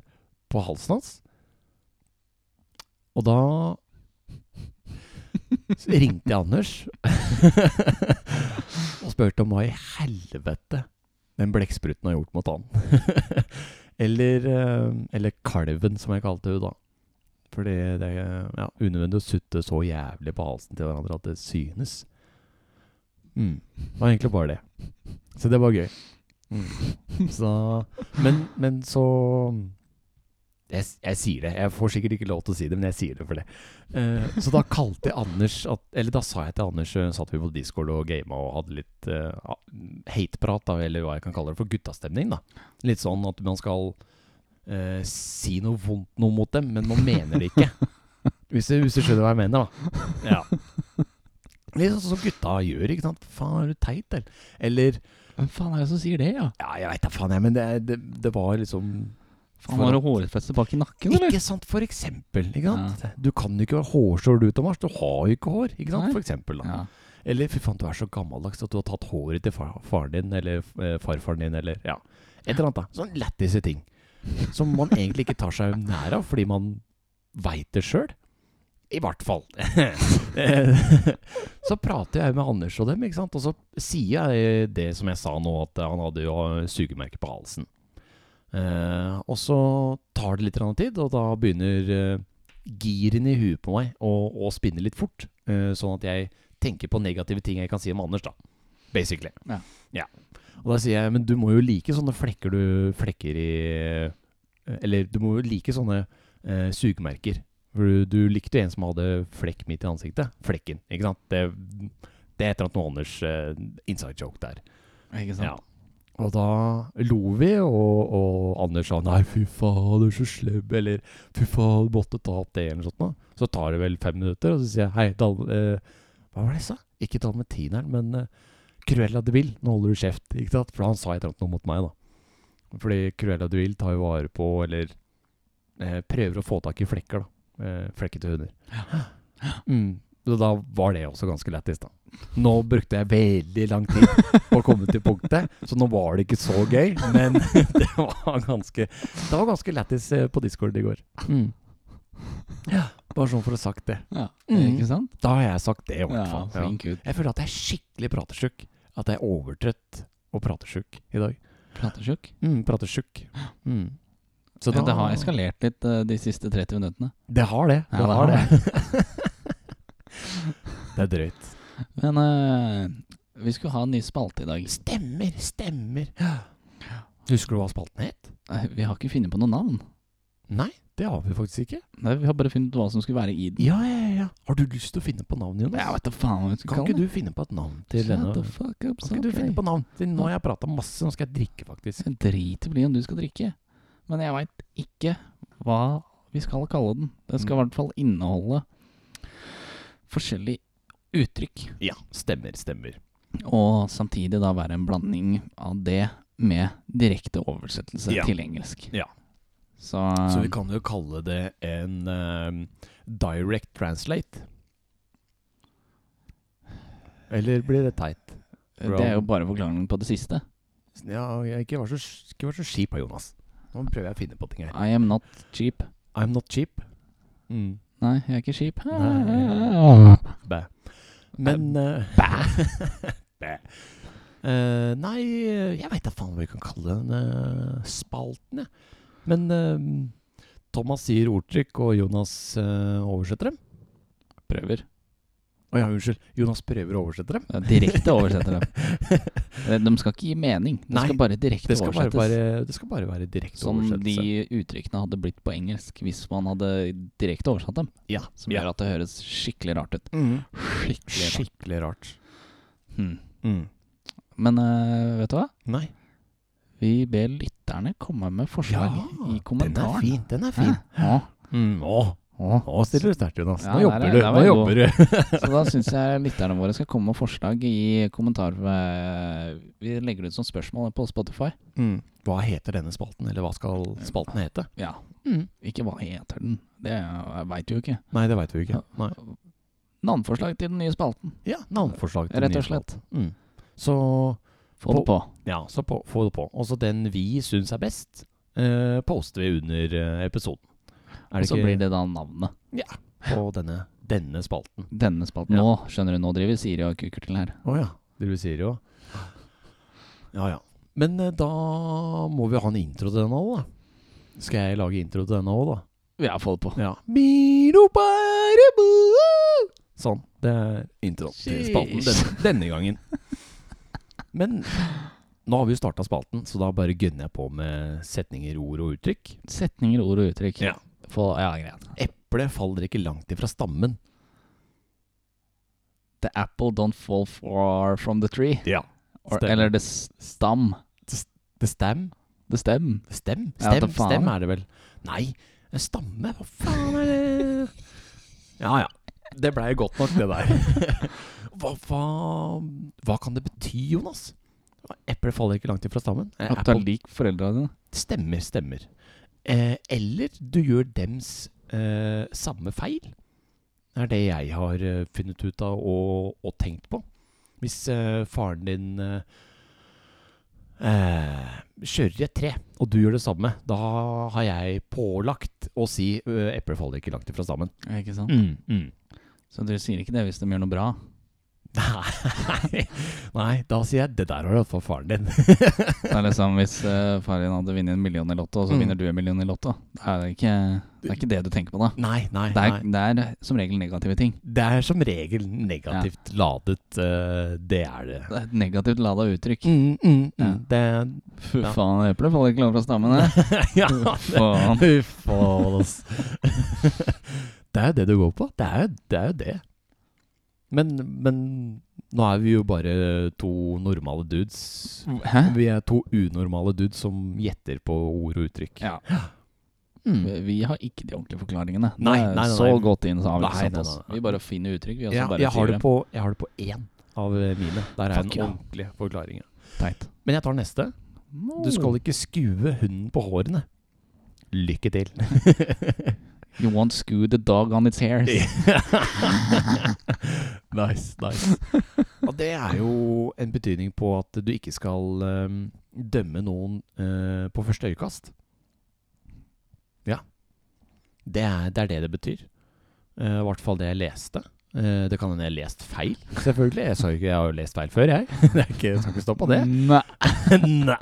S1: på halsen hans. Og da så ringte jeg Anders og spurte om hva i helvete den blekkspruten har gjort mot han. eller, eh, eller kalven, som jeg kalte henne da. Fordi det er ja, unødvendig å sutte så jævlig på halsen til hverandre at det synes. Mm. Det var egentlig bare det. Så det var gøy. Mm. Så, men, men så jeg, s- jeg sier det. Jeg får sikkert ikke lov til å si det, men jeg sier det for det. Eh, så da kalte jeg Anders at, Eller da sa jeg til Anders eh, Satt vi på Discord og gama og hadde litt eh, ja, hateprat, da, eller hva jeg kan kalle det, for guttastemning. da Litt sånn at man skal eh, si noe vondt noe mot dem, men man mener det ikke. Hvis du, hvis du skjønner hva jeg mener, da. Ja. Litt sånn som gutta gjør, ikke sant. Faen, er du teit, eller? Eller
S2: Hvem faen er det som sier det, ja?
S1: Ja, jeg veit da faen, jeg, men det, det, det var liksom
S2: Faen, Har du hårfeste bak i nakken, eller?
S1: ikke sant, for eksempel. Ikke sant? Du kan jo ikke være hårsår du, Thomas. Du har jo ikke hår. Ikke sant?
S2: Nei.
S1: For eksempel, da.
S2: Ja.
S1: Eller fy faen, du er så gammeldags at du har tatt håret til far, faren din, eller eh, farfaren din, eller ja. Et eller annet, da. Sånn lættise ting. Som man egentlig ikke tar seg nær av, fordi man veit det sjøl. I hvert fall. Eh, så prater jeg med Anders og dem, ikke sant? og så sier jeg det som jeg sa nå, at han hadde jo sugemerke på halsen. Eh, og så tar det litt grann tid, og da begynner eh, girene i huet på meg å, å spinne litt fort. eh, sånn at jeg tenker på negative ting jeg kan si om Anders, da. Basically.
S2: Ja.
S1: Og da sier jeg, men du må jo like sånne flekker du flekker i eh, Eller du må jo like sånne eh, sugemerker. For du, du likte jo en som hadde flekk midt i ansiktet. Flekken, ikke sant? Det, det er et eller annet med Anders eh, inside joke der.
S2: Ikke
S1: Ja.
S2: sant?
S1: Og da lo vi, og, og Anders sa nei, fy faen, du er så slem, eller fy faen, du måtte ta opp det, eller noe sånt. nå». Så tar det vel fem minutter, og så sier jeg hei, Dal... Eh, hva var det jeg sa? Ikke dalmatineren, men eh, Cruella de Vil, nå holder du kjeft, ikke sant? For han sa et eller annet noe mot meg, da. Fordi Cruella de Vil tar jo vare på, eller eh, prøver å få tak i flekker, da. Eh, flekkete hunder. Mm. Så da var det også ganske lættis, da. Nå brukte jeg veldig lang tid på å komme til punktet. Så nå var det ikke så gøy, men det var ganske Det var ganske lættis eh, på Discord i går. Mm. Ja. Bare sånn for å ha sagt det.
S2: Ja,
S1: Mm.
S2: Ikke sant?
S1: Da har jeg sagt det, i hvert
S2: Ja,
S1: fall. Ja.
S2: flink gutt.
S1: Jeg føler at jeg er skikkelig pratesjuk. At jeg er overtrøtt og pratesjuk i dag.
S2: Pratetjukk.
S1: Mm, pratesjuk. Mm. Så
S2: Ja,
S1: da-
S2: det har eskalert litt eh, de siste 30 minuttene.
S1: Det har det.
S2: Ja,
S1: det, har
S2: det har
S1: det. det er drøyt.
S2: Men eh, vi skulle ha en ny spalte i dag.
S1: Stemmer, stemmer. Husker du hva spalten het?
S2: Nei, Vi har ikke funnet på noe navn.
S1: Nei, det har vi faktisk ikke.
S2: Nei, Vi har bare funnet ut hva som skulle være i den.
S1: Ja, ja, ja. Har du lyst til å finne på navn, Jonas?
S2: Jeg vet da faen hva vi skal
S1: kan
S2: kalle
S1: ikke
S2: det.
S1: du finne på et navn til denne?
S2: Shut the fuck up,
S1: Kan ikke du
S2: Sakai.
S1: finne på navn? Siden nå har jeg prata masse, nå skal jeg drikke, faktisk.
S2: Jeg driter bli om du skal drikke. Men jeg veit ikke hva vi skal kalle den. Den skal i hvert fall inneholde forskjellige uttrykk.
S1: Ja, stemmer, stemmer.
S2: Og samtidig da være en blanding av det med direkte oversettelse
S1: Ja.
S2: til engelsk.
S1: Ja.
S2: Så,
S1: Så vi kan jo kalle det en eh, direct translate. Eller blir det teit?
S2: det er jo bare forklaringen på det siste.
S1: Ja, jeg ikke vær så, ikke vær så skip av Jonas. Nå prøver jeg å finne på ting her.
S2: I am not cheap.
S1: I'm not cheap. Mm.
S2: Nei, jeg er ikke skip.
S1: Nei. Bæ. Men eh, Bæ. Eh, nei, eh, jeg veit da faen hva vi kan kalle den eh, spalten, jeg. Men eh, Thomas sier ordtrykk, og Jonas eh, oversetter dem.
S2: Prøver.
S1: Å ja, unnskyld. Jonas prøver å oversette dem.
S2: Jeg Direkte oversetter dem. De skal ikke gi mening. Det
S1: Nei,
S2: skal bare direkte
S1: Det skal bare
S2: oversettes.
S1: være, det skal bare være direkte
S2: Som
S1: oversettelse.
S2: de uttrykkene hadde blitt på engelsk hvis man hadde direkte oversatt dem.
S1: ja,
S2: Som gjør at det høres skikkelig rart ut.
S1: Mm.
S2: Skikkelig rart.
S1: Skikkelig rart. Mm.
S2: Hmm. Men eh, vet du hva?
S1: Nei.
S2: Vi ber lytterne komme med forslag i
S1: den er
S2: kommentaren.
S1: fin. Den er fin.
S2: Hæ?
S1: Mm, å,
S2: Å, å.
S1: nå stiller du sterkt, Jonas.
S2: Ja,
S1: Nå jobber du.
S2: der er- der
S1: Nå
S2: var jeg
S1: jobber du.
S2: Så da syns jeg lytterne våre skal komme med forslag i kommentar. eh, Vi legger det ut som spørsmål på Spotify.
S1: Mm. Hva heter denne spalten, eller hva skal spalten hete?
S2: Ja. Ikke hva heter den, det veit jo ikke.
S1: Nei, det veit vi ikke.
S2: Ja.
S1: Nei.
S2: Navnforslag til den nye spalten,
S1: Ja, navnforslag til
S2: rett og
S1: ny spalt.
S2: slett.
S1: Mm. Så
S2: Få det på.
S1: ja, så på, få det på. Og så den vi syns er best, eh, poster vi under eh, episoden. Er
S2: Og
S1: det
S2: så
S1: ikke
S2: blir det da navnet.
S1: på denne, denne spalten?
S2: Denne spalten.
S1: Ja.
S2: Nå skjønner du, nå driver Siri og kukker til her.
S1: Å ja. Det du sier jo. Ja ja. Men eh, da må vi ha en intro til denne òg, da. Skal jeg lage intro til denne òg, da?
S2: Ja, få det på.
S1: Ja. Minobaribu. Sånn. Det er introen til spalten denne, denne gangen. Men nå har vi jo starta spalten, så da bare gønner jeg på med setninger, ord og uttrykk.
S2: Setninger, ord og uttrykk.
S1: Ja.
S2: Få, ja, greit.
S1: Eplet faller ikke langt ifra stammen.
S2: The apple don't fall far from the tree.
S1: Ja.
S2: Or,
S1: Stem.
S2: eller the stam.
S1: The stem.
S2: The stem.
S1: Stem?
S2: Ja,
S1: Stem,
S2: ta faen.
S1: stem er det vel. Nei, en stamme? Hva faen er det? Ja ja. Det blei godt nok, det der. Hva, hva, hva kan det bety, Jonas? Eplet faller ikke langt ifra stammen. Eh,
S2: At du er
S1: apple-
S2: lik foreldra dine.
S1: Stemmer, stemmer. Eh, eller du gjør dems eh, samme feil. Det er det jeg har eh, funnet ut av og, og tenkt på. Hvis eh, faren din eh, eh, kjører i et tre, og du gjør det samme, da har jeg pålagt å si eh, 'eplet faller ikke langt ifra stammen'.
S2: Ikke sant?
S1: Mm, mm.
S2: Så dere sier ikke det hvis de gjør noe bra.
S1: Nei. Nei, da sier jeg 'det der har du fått faren din'.
S2: Det er liksom Hvis eh, faren din hadde vunnet en million i Lotto, og så
S1: Mm.
S2: vinner du en million i Lotto, det er det ikke det, er ikke det du tenker på da.
S1: Nei, nei,
S2: Det
S1: nei.
S2: er, det er som regel negative ting.
S1: Det er som regel negativt ladet. eh, det er det.
S2: Det er et negativt lada uttrykk.
S1: Mm, mm,
S2: Ja.
S1: mm. Det
S2: Fy
S1: Ja.
S2: faen, eplet faller ikke langt fra stammen. eh.
S1: Ja,
S2: Fy faen.
S1: Uff ass. Det er jo det du går på. Det er jo det. Er jo det. Men, men nå er vi jo bare to normale dudes.
S2: Hæ?
S1: Vi er to unormale dudes som gjetter på ord og uttrykk.
S2: Ja.
S1: Mm.
S2: Vi, vi har ikke de ordentlige forklaringene. Det
S1: Nei,
S2: er
S1: nei, nei,
S2: så
S1: nei.
S2: godt inn så har vi
S1: Nei,
S2: ikke satt
S1: nei,
S2: oss.
S1: nei, nei.
S2: Vi bare finner uttrykk, vi. Og så
S1: Ja,
S2: bare
S1: jeg, har
S2: sier
S1: det på, jeg har det på én av mine. Der er
S2: Fuck
S1: en
S2: ja.
S1: ordentlig forklaring.
S2: Teit.
S1: Men jeg tar neste. Du skal ikke skue hunden på hårene. Lykke til.
S2: You won't screw the dog on its hairs.
S1: nice, nice. Og det er jo en betydning på at du ikke skal ehm, dømme noen eh, på første øyekast. Ja. Det er, det er det det betyr. Eh, I hvert fall det jeg leste. Eh, det kan hende jeg har lest feil. Selvfølgelig. Jeg, sa jo ikke, jeg har jo lest feil før, jeg. det er ikke, jeg skal ikke stå på det.
S2: Nei.
S1: Nei.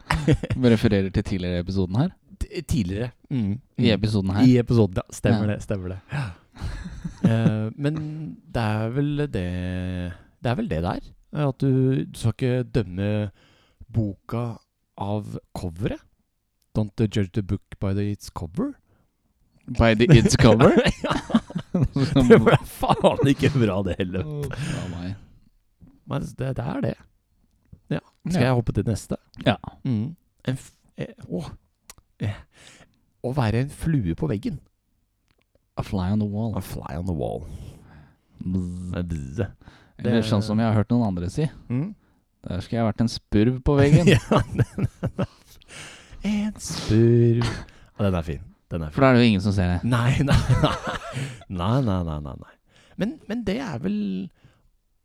S2: Vi refererer til tidligere i episoden her.
S1: T- Tidligere. Mm.
S2: I episoden her.
S1: I episoden, ja. Stemmer
S2: Ja.
S1: det. stemmer det Eh, Men det er vel det Det er vel det der. At du, du skal ikke dømme boka av coveret. Don't judge the book by the its cover.
S2: By the It's Cover.
S1: Ja, det ble faen ikke bra, det heller.
S2: Fra meg.
S1: Men det, det er det. Skal
S2: Ja.
S1: jeg hoppe til neste?
S2: Ja.
S1: Mm. En f eh, å. Eh. Å være en flue på veggen.
S2: A fly on the wall.
S1: A fly on the wall.
S2: Bzz.
S1: Bzz.
S2: Eller sånn som jeg har hørt noen andre si.
S1: Mm.
S2: Der skulle jeg vært en spurv på veggen.
S1: ja, den, den er f- En spurv ja, Den er fin. Den er fin.
S2: For da er det jo ingen som ser det.
S1: Nei, nei, nei. Nei, nei, nei, nei, nei. Men, men det er vel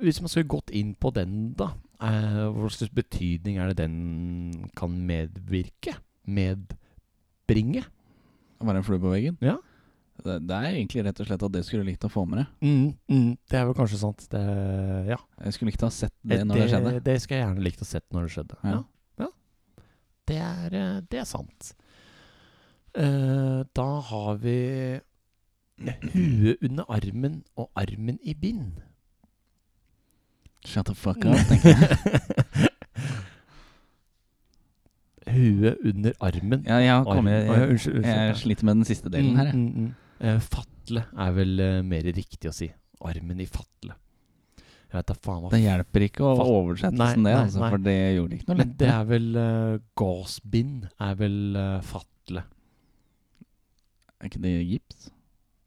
S1: Hvis man skulle gått inn på den, da eh, Hva slags betydning er det den kan medvirke? Medbringe?
S2: Å være en flue på veggen.
S1: Ja.
S2: Det, det er egentlig rett og slett at det skulle du likt å få med deg.
S1: Mm, mm, det er vel kanskje sant. Det, ja.
S2: Jeg skulle likt å ha sett det når det skjedde.
S1: det skal jeg gjerne likt å sett når det skjedde.
S2: Ja.
S1: Ja. ja. Det, er, eh, det er sant. Eh, da har vi huet under armen og armen i bind.
S2: Shut the fuck up, tenker jeg.
S1: huet under armen.
S2: Ja, jeg, har
S1: Armen-
S2: kommet,
S1: Å, ja,
S2: jeg,
S1: unnskyld. unnskyld.
S2: jeg sliter med den siste delen
S1: Mm,
S2: her. jeg.
S1: mm, mm. Eh, fatle er vel eh, mer riktig å si. Armen i fatle. Jeg vet da faen hva
S2: Det hjelper ikke å
S1: Fatt-
S2: oversette
S1: Nei,
S2: som det,
S1: nei,
S2: altså,
S1: nei.
S2: for det gjorde ikke noe
S1: Men
S2: lett.
S1: det er vel uh, Gassbind er vel eh, fatle.
S2: Er ikke det gips?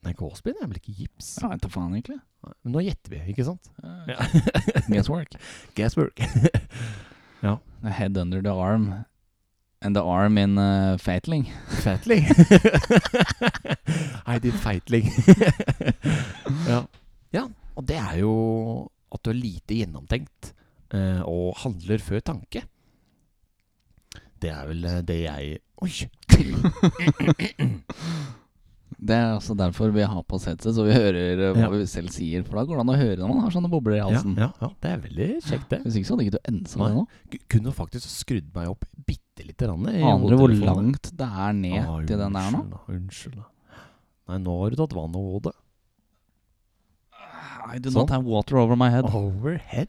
S1: Nei, gassbind er vel ikke gips?
S2: Ja, vet da faen, egentlig.
S1: Nei, Men nå gjetter vi, ikke sant?
S2: Ja. Guesswork.
S1: Guesswork.
S2: The head under the arm. And the arm in uh, fatling.
S1: Fatling. I did feitling. ja. ja, og det er jo at du er lite gjennomtenkt eh, og handler før tanke. Det er vel eh, det jeg Oi!
S2: Det er også derfor vi har på oss headset, så vi hører eh, hva
S1: Ja.
S2: vi selv sier. For da går det an å høre når man har sånne bobler i
S1: Ja,
S2: halsen.
S1: ja, ja, det er veldig kjekt, det.
S2: Hvis ikke så hadde ikke du ensa
S1: Nei.
S2: det nå.
S1: K- Kunne faktisk skrudd meg opp bitte lite grann. eh, i
S2: Aner du hvor
S1: hodetelefonen.
S2: langt det er ned
S1: Ah,
S2: til den der nå?
S1: unnskyld da, Unnskyld, da. Nei, nå har du tatt vann over hodet.
S2: I do
S1: Sånn.
S2: not have water over my head.
S1: Overhead?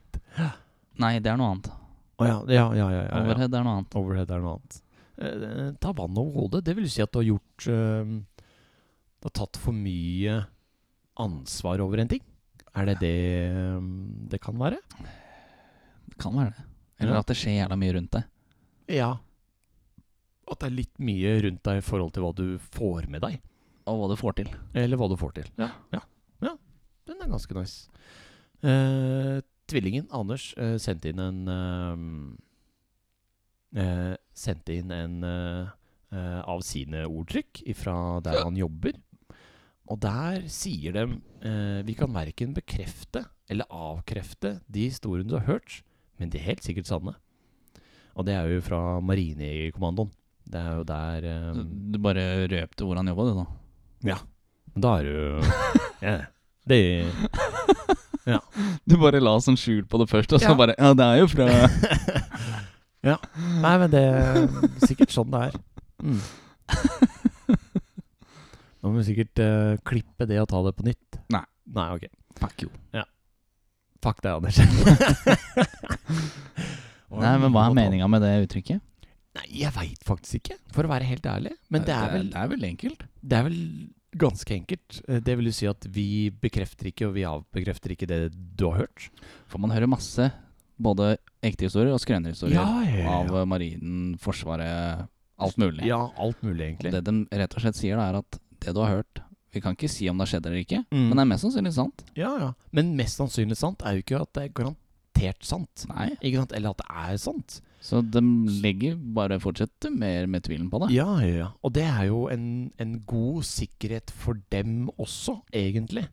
S2: Nei, det er noe annet.
S1: Å ja, ja, ja. ja, ja, ja.
S2: Overhead er noe annet.
S1: Overhead er noe annet. Eh, ta vann over hodet. Det vil si at du har gjort eh, Du har tatt for mye ansvar over en ting. Er det det eh, det kan være?
S2: Det kan være det. Eller
S1: Ja.
S2: at det skjer jævla mye rundt deg.
S1: Ja. At det er litt mye rundt deg i forhold til hva du får med deg.
S2: Og hva du får til.
S1: Eller hva du får til. Ja. ja. ja. Den er ganske nice. Eh, tvillingen Anders eh, sendte inn en eh, eh, Sendte inn en eh, eh, av sine ordtrykk fra der han jobber. Og der sier de eh, Vi kan verken bekrefte eller avkrefte de historiene du har hørt, men de er helt sikkert sanne. Og det er jo fra Marinejegerkommandoen. Det er jo der
S2: Du,
S1: eh,
S2: du bare røpte hvor han jobba, du, da.
S1: Da er du ja, Det
S2: Du bare la sånn skjul på det først, og
S1: så Ja.
S2: bare Ja, det er jo fra
S1: Ja. Nei, men det er sikkert sånn det er. Mm. Nå må vi sikkert eh, klippe det og ta det på nytt.
S2: Nei.
S1: Nei, ok.
S2: Fuck you.
S1: Fuck deg, Anders.
S2: Nei, men hva er meninga med det uttrykket?
S1: Nei, jeg veit faktisk ikke, for å være helt ærlig. Men det er vel,
S2: Det er vel enkelt.
S1: det er vel ganske enkelt. Eh, Det vil jo si at vi bekrefter ikke, og vi avbekrefter ikke det du har hørt.
S2: For man hører masse både ekte historier og skrønerhistorier av
S1: ja.
S2: eh, marinen, Forsvaret, alt mulig.
S1: Ja, alt mulig,
S2: Og
S1: egentlig.
S2: det de rett og slett sier, da, er at det du har hørt Vi kan ikke si om det har skjedd eller ikke,
S1: Mm.
S2: men det er mest sannsynlig sant.
S1: Ja, ja. Men mest sannsynlig sant er jo ikke at det er garantert sant.
S2: Nei.
S1: Ikke sant? Eller at det er sant.
S2: Så de legger bare fortsetter mer med tvilen på det.
S1: Ja, ja, ja. Og det er jo en, en god sikkerhet for dem også, egentlig.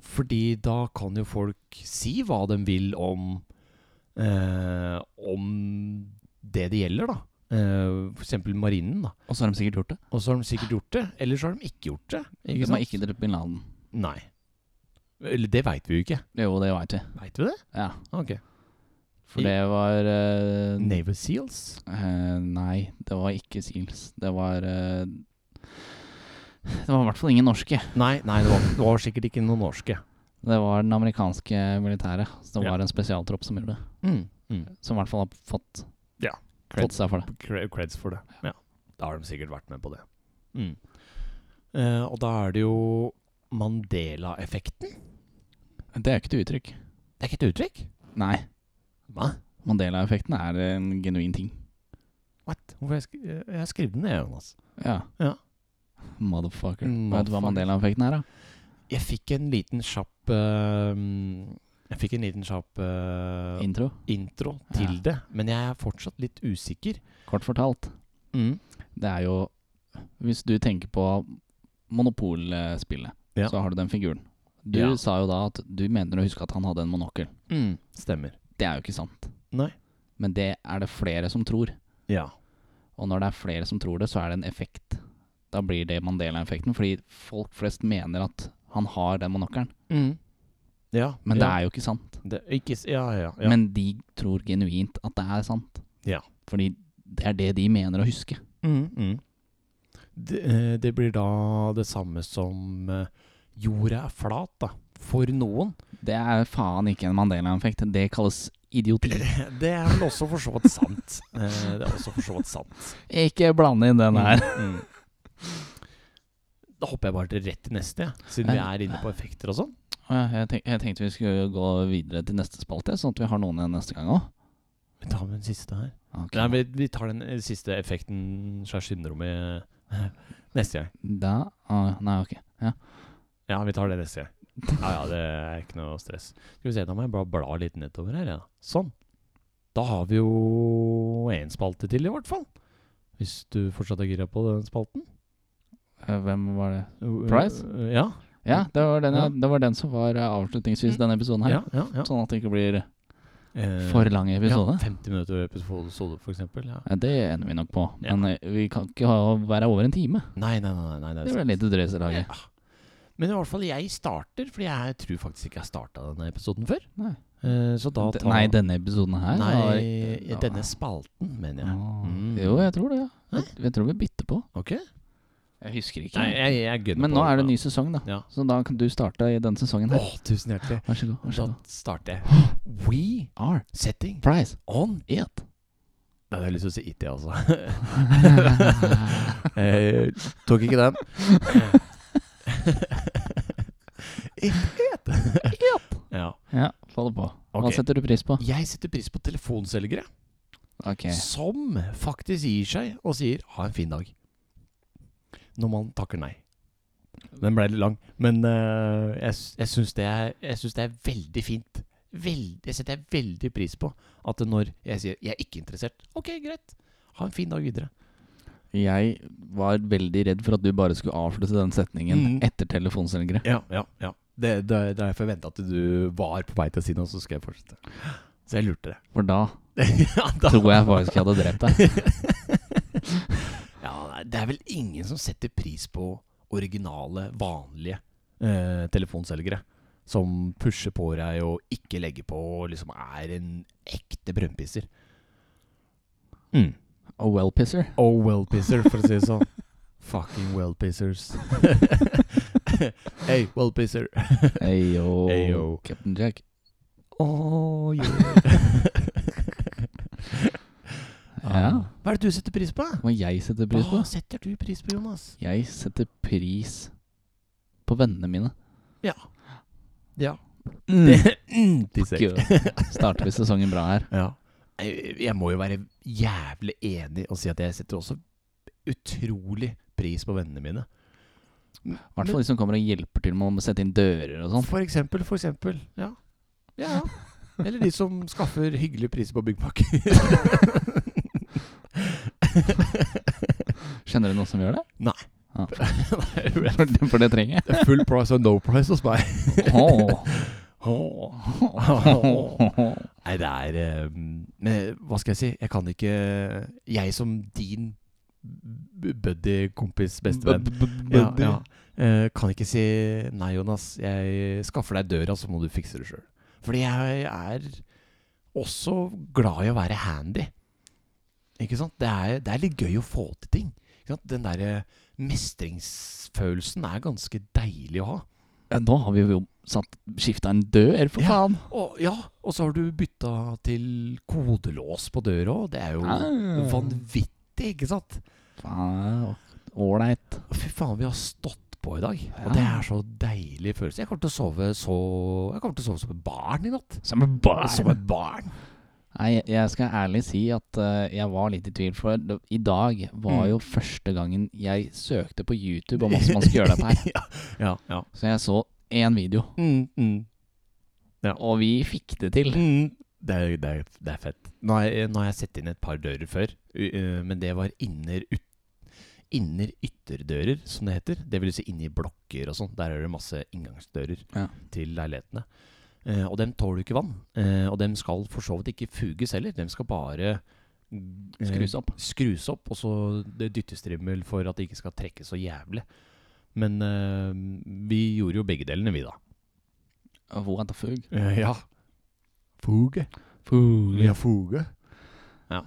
S1: Fordi da kan jo folk si hva de vil om eh, Om det det gjelder, da. Eh, for eksempel marinen, da.
S2: Og så har de sikkert gjort det.
S1: Og så har de sikkert gjort det, eller så har de ikke gjort det.
S2: De har ikke drept bin Laden.
S1: Nei. Eller det veit vi jo ikke.
S2: Jo, det veit vi.
S1: Veit vi det?
S2: Ja.
S1: Ok. I-
S2: For det var eh,
S1: Naval Seals?
S2: eh, Nei, det var ikke Seals. Det var eh, Det var i hvert fall ingen norske.
S1: Nei, nei det, var, det var sikkert ikke noen norske.
S2: Det var den amerikanske militæret. Så det
S1: Ja.
S2: var en spesialtropp som gjorde det.
S1: Mm. Mm.
S2: Som i hvert fall har fått
S1: Ja.
S2: creds da for det.
S1: Cre- Creds for det. Ja. Da har de sikkert vært med på det. Mm. Eh, og da er det jo Mandela-effekten.
S2: Det er jo ikke et uttrykk.
S1: Det er ikke et uttrykk?
S2: Nei.
S1: Hva?
S2: Mandela-effekten er en genuin ting.
S1: What? Hvorfor har jeg, sk jeg har skrevet den ned, Jonas.
S2: Ja.
S1: Ja.
S2: Motherfucker. Vet du
S1: Motherfucker.
S2: hva Mandela-effekten er, da?
S1: Jeg fikk en liten kjapp eh, Jeg fikk en liten kjapp eh,
S2: Intro.
S1: intro til
S2: Ja.
S1: det, men jeg er fortsatt litt usikker.
S2: Kort fortalt.
S1: Mm.
S2: Det er jo Hvis du tenker på monopolspillet,
S1: Ja.
S2: så har du den figuren. Du
S1: Ja.
S2: sa jo da at du mener å huske at han hadde en monokkel.
S1: Mm. Stemmer.
S2: Det er jo ikke sant.
S1: Nei.
S2: Men det er det flere som tror.
S1: Ja.
S2: Og når det er flere som tror det, så er det en effekt. Da blir det Mandela-effekten, fordi folk flest mener at han har den monokkelen.
S1: Mm. Ja.
S2: Men det
S1: ja.
S2: er jo ikke sant.
S1: det, ikke, s- Ja, ja. ja.
S2: Men de tror genuint at det er sant.
S1: Ja.
S2: Fordi det er det de mener å huske.
S1: Mm, mm. Det, eh, det blir da det samme som eh, jorda er flat, da. For noen.
S2: Det er faen ikke en Mandela-effekt. Det kalles idioti.
S1: Det er vel også for så vidt sant. Eh, Det er også for så vidt sant.
S2: Ikke blande inn den her.
S1: Mm, mm. Da hopper jeg bare rett til neste, jeg, siden vi er inne på effekter og sånn.
S2: Jeg, tenk, jeg tenkte vi skulle gå videre til neste spalte, sånn at vi har noen igjen neste gang òg.
S1: Vi tar med den siste her. Nei, vi, vi tar den eh, siste effekten slags syndromet eh, neste gang.
S2: Da ah, Nei, ok. Ja.
S1: Ja, vi tar det neste gang. Ja, ja, det er ikke noe stress. Skal vi se, da må jeg bare bla litt nedover her, ja. Sånn. Da har vi jo én spalte til, i hvert fall. Hvis du fortsatt er gira på den spalten.
S2: Eh, Hvem var det?
S1: Uh,
S2: Price?
S1: uh, Ja,
S2: Ja, det var den,
S1: Ja. Mm.
S2: det var den som var eh, avslutningsvis i denne episoden her.
S1: ja, ja. ja.
S2: Sånn at det ikke blir
S1: Eh,
S2: for lang episode.
S1: Ja, 50 minutter episode, for eksempel. Ja.
S2: Ja, det ender vi nok på.
S1: Ja.
S2: Men eh, vi kan ikke ha, være over en time.
S1: Nei, nei, nei. nei, nei
S2: Det blir litt drøyt i laget.
S1: Ja. Men i hvert fall jeg starter, Fordi jeg tror faktisk ikke jeg starta denne episoden før.
S2: Nei.
S1: Eh, så da
S2: D-
S1: tar
S2: Nei, denne episoden her var-
S1: Nei, eh,
S2: Ja.
S1: denne spalten, mener jeg.
S2: Åh.
S1: Mm.
S2: Jo, jeg tror det. Ja. Jeg, jeg tror vi bytter på.
S1: Ok?
S2: Jeg husker ikke.
S1: Nei, jeg, jeg gunner
S2: Men
S1: på
S2: nå er det ny sesong, da.
S1: Ja.
S2: Så da kan du starte i denne sesongen
S1: Å,
S2: her.
S1: tusen hjertelig.
S2: Vær så god. Vær så
S1: Da
S2: god.
S1: starter jeg. We
S2: R.
S1: setting
S2: Price.
S1: on
S2: It.
S1: Nei, jeg har lyst til å si it, jeg altså. eh, tok ikke den. it, it. ja.
S2: Ja, få det på. Hva
S1: Ok.
S2: setter du pris på?
S1: Jeg setter pris på telefonselgere
S2: Ok.
S1: som faktisk gir seg og sier 'ha en fin dag' når man takker nei. Den ble litt lang, men eh, jeg, s- jeg syns det, er- jeg syns det er veldig fint. Veld, det setter jeg veldig pris på. At når jeg sier 'jeg er ikke interessert', ok, greit. Ha en fin dag videre.
S2: Jeg var veldig redd for at du bare skulle avslutte den setningen
S1: Mm.
S2: etter telefonselgere.
S1: Ja, ja, ja. Det, det, det er derfor jeg venta at du var på vei til å si noe, så skal jeg fortsette. Så jeg lurte det.
S2: For da
S1: ja, da-
S2: tror jeg faktisk jeg hadde drept deg.
S1: ja, nei, det er vel ingen som setter pris på originale, vanlige eh, telefonselgere. Som pusher på deg og ikke legger på og liksom er en ekte brønnpisser. Mm.
S2: A well-pisser.
S1: Oh, well-pisser, for å si det sånn. Fucking well-pissers. hey, well-pisser.
S2: Ayo.
S1: Ayo.
S2: Captain Jack.
S1: Oh, yeah.
S2: Ja.
S1: Hva er det du setter pris på?
S2: Hva jeg setter pris på?
S1: Hva setter du pris på, Jonas?
S2: Jeg setter pris på vennene mine.
S1: Ja. Ja.
S2: Mm.
S1: Mm, tissekk.
S2: Starter vi sesongen bra her.
S1: ja. Jeg jeg må jo være jævlig enig og si at jeg setter også utrolig pris på vennene mine.
S2: I hvert fall de som kommer og hjelper til med å sette inn dører og sånn.
S1: For eksempel, for eksempel. Ja. ja. Eller de som skaffer hyggelige priser på byggpakker.
S2: Kjenner du noen som gjør det?
S1: Nei,
S2: For, for det trenger jeg.
S1: Full price og no price hos meg.
S2: Åh.
S1: Åh. Nei, det er eh, men Hva skal jeg si? Jeg kan ikke Jeg som din b- buddy, kompis, bestevenn
S2: B- b- b-
S1: ja,
S2: buddy.
S1: ja. eh, kan ikke si 'nei, Jonas, jeg skaffer deg døra, så må du fikse det sjøl'. Fordi jeg er også glad i å være handy. Ikke sant? Det er, det er litt gøy å få til ting. Ikke sant? Den derre mestringsfølelsen er ganske deilig å ha.
S2: Ja, nå har vi jo satt skifta en dør, for
S1: Ja.
S2: faen.
S1: Og, ja, og så har du bytta til kodelås på døra òg. Det er jo
S2: Ah.
S1: vanvittig, ikke sant?
S2: Faen, Ah. Ålreit.
S1: Fy faen, vi har stått på i dag.
S2: Ja.
S1: Og det er så deilig følelse. Jeg kommer til å sove så Jeg kommer til å sove som et barn i natt.
S2: Som en
S1: Som et barn.
S2: Nei, jeg skal ærlig si at eh, jeg var litt i tvil, for det- i dag var
S1: Mm.
S2: jo første gangen jeg søkte på YouTube om hva som man skulle gjøre dette her.
S1: ja, ja, ja.
S2: Så jeg så én video,
S1: Mm, mm.
S2: og vi fikk det til.
S1: Mm. Det, er, det, er, det er fett. Nå har, jeg, nå har jeg sett inn et par dører før, u- eh, men det var inner, ut, inner ytterdører, som det heter. Det vil si inni blokker og sånn. Der er det masse inngangsdører
S2: Ja.
S1: til leilighetene. Eh, og dem tåler jo ikke vann. Eh, og dem skal for så vidt ikke fuges heller. Dem skal bare eh,
S2: Skrus opp.
S1: skrus opp, og så det dyttestrimmel for at det ikke skal trekke så jævlig. Men eh, vi gjorde jo begge delene, vi da.
S2: Hvor er det fug?
S1: Eh, ja. Fuge.
S2: Fug.
S1: foge. Mm. Ja.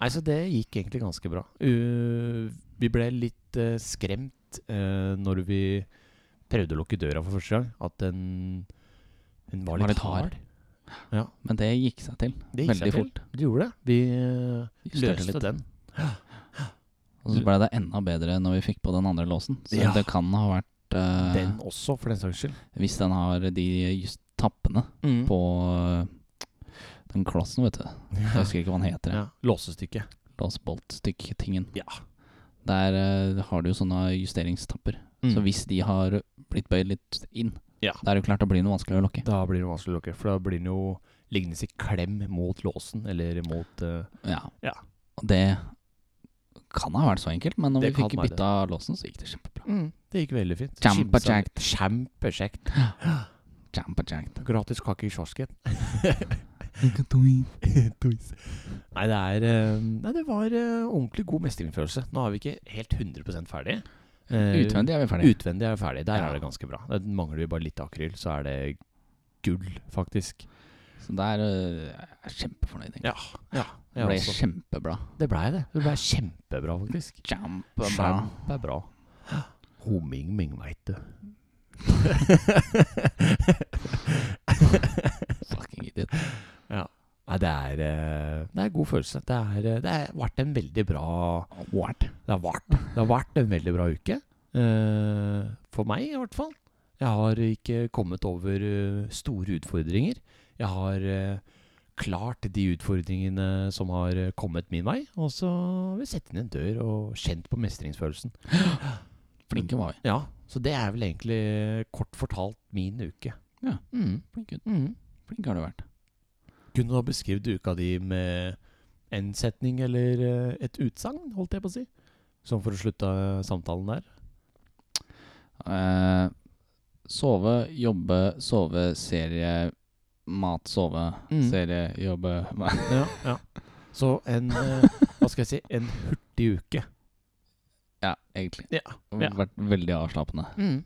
S1: Nei, så det gikk egentlig ganske bra. Uh, vi ble litt eh, skremt uh, når vi prøvde å lukke døra for første gang. At den, den var, litt hard.
S2: Men det gikk seg til.
S1: Det til.
S2: Veldig fort.
S1: Det gjorde det. Vi eh,
S2: Justerte
S1: løste
S2: litt.
S1: den.
S2: Og så ble det enda bedre når vi fikk på den andre låsen. Så
S1: Ja.
S2: det kan ha vært eh,
S1: Den også, for den saks skyld.
S2: Hvis den har de just tappene
S1: Mm.
S2: på eh, den klossen, vet du. Jeg
S1: ja.
S2: husker ikke hva den heter.
S1: Ja. Låsestykket.
S2: låsboltstykk-tingen.
S1: Ja.
S2: Der eh, har du jo sånne justeringstapper. Så hvis de har blitt bøyd litt inn,
S1: Mm. Ja.
S2: da er det jo klart det blir noe vanskelig å lokke.
S1: Da blir det vanskelig å lukke, for da blir den jo liggende i klem mot låsen, eller mot eh,
S2: Ja.
S1: Ja.
S2: Og det kan ha vært så enkelt, men når
S1: Det
S2: vi
S1: kan
S2: fikk
S1: være det.
S2: bytta låsen, så gikk det kjempebra.
S1: Det gikk veldig fint.
S2: Kjempekjekt.
S1: Skimsa- Kjempekjekt.
S2: Kjempekjekt.
S1: Gratis kake i kiosken. Nei, det er eh, Nei, det var eh, ordentlig god mestringsfølelse. Nå er vi ikke helt 100 ferdig. Eh,
S2: Utvendig er vi ferdig.
S1: Utvendig er vi ferdig. Der
S2: Ja.
S1: er det ganske bra. Det mangler vi bare litt akryl, så er det gull, faktisk.
S2: Så der eh, er jeg kjempefornøyd. egentlig.
S1: Ja. ja
S2: Det
S1: jeg
S2: ble
S1: også.
S2: kjempebra.
S1: det blei det. Det blei kjempebra, faktisk.
S2: Kjempebra.
S1: Det er bra. Homing ming, veit du.
S2: Fucking idiot.
S1: Nei, det er eh, Det er god følelse. Det er, eh, det er vært en veldig bra
S2: What?
S1: Det har vært, det har vært en veldig bra uke. eh, for meg, i hvert fall. Jeg har ikke kommet over eh, store utfordringer. Jeg har eh, klart de utfordringene som har eh, kommet min vei. Og så har vi sett inn en dør og kjent på mestringsfølelsen.
S2: Flinke var vi.
S1: Ja, Så det er vel egentlig kort fortalt min uke.
S2: Ja.
S1: Mm.
S2: Flink, gutt.
S1: Mm.
S2: Flink har du vært.
S1: Kunne du ha beskrevet uka di med en setning eller eh, et utsagn, holdt jeg på å si? Sånn for å slutte eh, samtalen der.
S2: Eh, sove, jobbe, sove, serie, mat, sove,
S1: Mm.
S2: serie, jobbe Nei.
S1: Ja, ja. Så en eh, Hva skal jeg si? En hurtig uke.
S2: Ja, egentlig.
S1: Ja, ja.
S2: Vært veldig avslappende.
S1: Mm.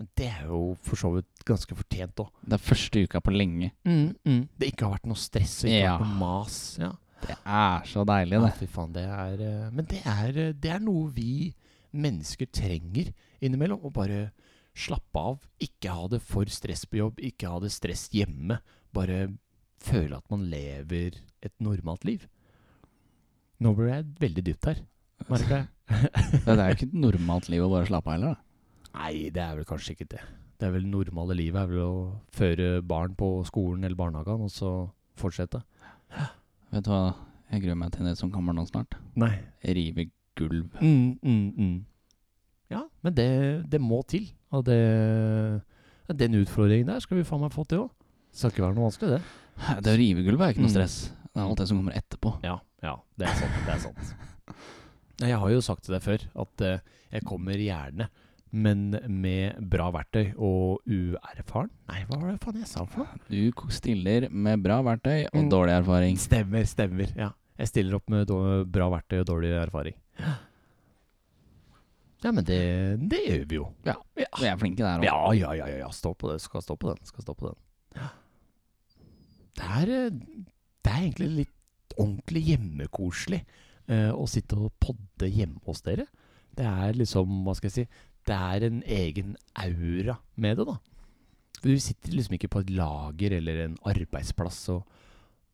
S1: Men Det er jo for så vidt ganske fortjent òg.
S2: Det er første uka på lenge.
S1: Det ikke har vært noe stress og ikke
S2: Ja.
S1: vært noe mas. Mm, Ja.
S2: Det er så deilig,
S1: Ja,
S2: det.
S1: fy faen, det er eh, Men det er, eh, det er noe vi mennesker trenger innimellom. Å bare slappe av. Ikke ha det for stress på jobb, ikke ha det stress hjemme. Bare føle at man lever et normalt liv. Nå ble jeg veldig dypt her, merker jeg.
S2: Det er jo ikke et normalt liv å bare slappe av heller, da.
S1: Nei, det er vel kanskje ikke det. Det er vel normale livet er vel å føre barn på skolen eller barnehagen, og så fortsette.
S2: Vet du hva jeg gruer meg til det som kommer nå snart?
S1: Nei.
S2: Rive gulv.
S1: Mm, mm, mm. Ja, men det, det må til. Og det, ja, den utfordringen der skal vi faen meg få til òg. Skal ikke være noe vanskelig, det.
S2: Det å rive gulv er ikke
S1: Mm.
S2: noe stress. Det er alt det som kommer etterpå.
S1: Ja, ja, det er sant. Det er sant. Nei, Jeg har jo sagt til deg før at eh, jeg kommer gjerne, men med bra verktøy og uerfaren Nei, hva var det faen jeg sa for noe?
S2: Du k- stiller med bra verktøy og
S1: Mm.
S2: dårlig erfaring.
S1: Stemmer, stemmer. Ja. Jeg stiller opp med dår- bra verktøy og dårlig erfaring. Ja, men det, det gjør vi jo.
S2: Ja. Vi er flinke der òg.
S1: Ja, ja, ja, ja, ja. Stå på det. Skal stå på den. Skal stå på den. Det er, eh, det er egentlig litt ordentlig hjemmekoselig eh, å sitte og podde hjemme hos dere. Det er liksom, hva skal jeg si, det er en egen aura med det, da. For Du sitter liksom ikke på et lager eller en arbeidsplass og,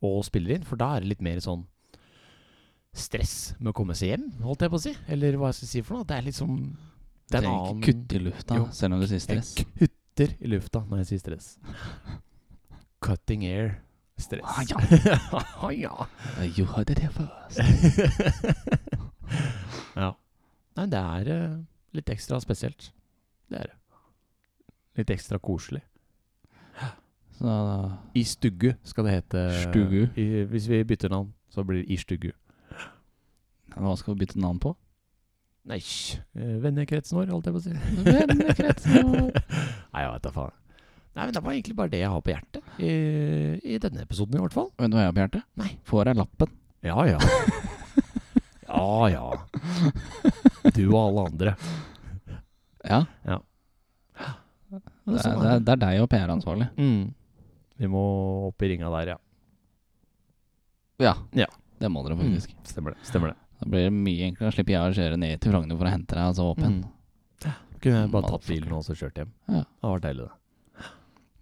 S1: og spiller inn, for da er det litt mer sånn stress med å komme seg hjem, holdt jeg på å si. Eller hva jeg skal si for noe. Det er liksom
S2: Du trenger ikke kutte i lufta
S1: Jo.
S2: selv om du sier stress.
S1: jeg kutter i lufta når jeg sier stress. Cutting air. Stress.
S2: Ah, ja.
S1: Ah, ja.
S2: Uh, You heard it here first.
S1: ja. Nei, det er eh, litt ekstra spesielt. Det er det. Litt ekstra koselig.
S2: Så
S1: I stuggu skal det hete.
S2: Stuggu.
S1: I, hvis vi bytter navn, så blir det I stuggu.
S2: hva skal vi bytte navn på?
S1: Nei, eh, vennekretsen vår, holdt jeg på å si.
S2: Vennekretsen vår.
S1: Nei, jeg vet da faen. Nei, men Det var egentlig bare det jeg har på hjertet i, i denne episoden, i hvert fall.
S2: Vet du hva jeg har på hjertet?
S1: Nei.
S2: Får jeg lappen?
S1: Ja, ja. Ja, ja. Du og alle andre.
S2: Ja.
S1: Men
S2: Det er,
S1: sånn
S2: det
S1: er
S2: er, det er deg og PR-ansvarlig.
S1: det. Mm. Vi må opp i ringa der, ja.
S2: Ja.
S1: Ja. Mm.
S2: Det må dere faktisk.
S1: Stemmer det. stemmer det.
S2: Da blir det mye enklere. Slipper jeg å kjøre ned til Frogner for å hente deg, altså, og så opp igjen.
S1: Mm. Kunne jeg bare tatt bilen og så kjørt hjem.
S2: Ja.
S1: Det var deilig, det.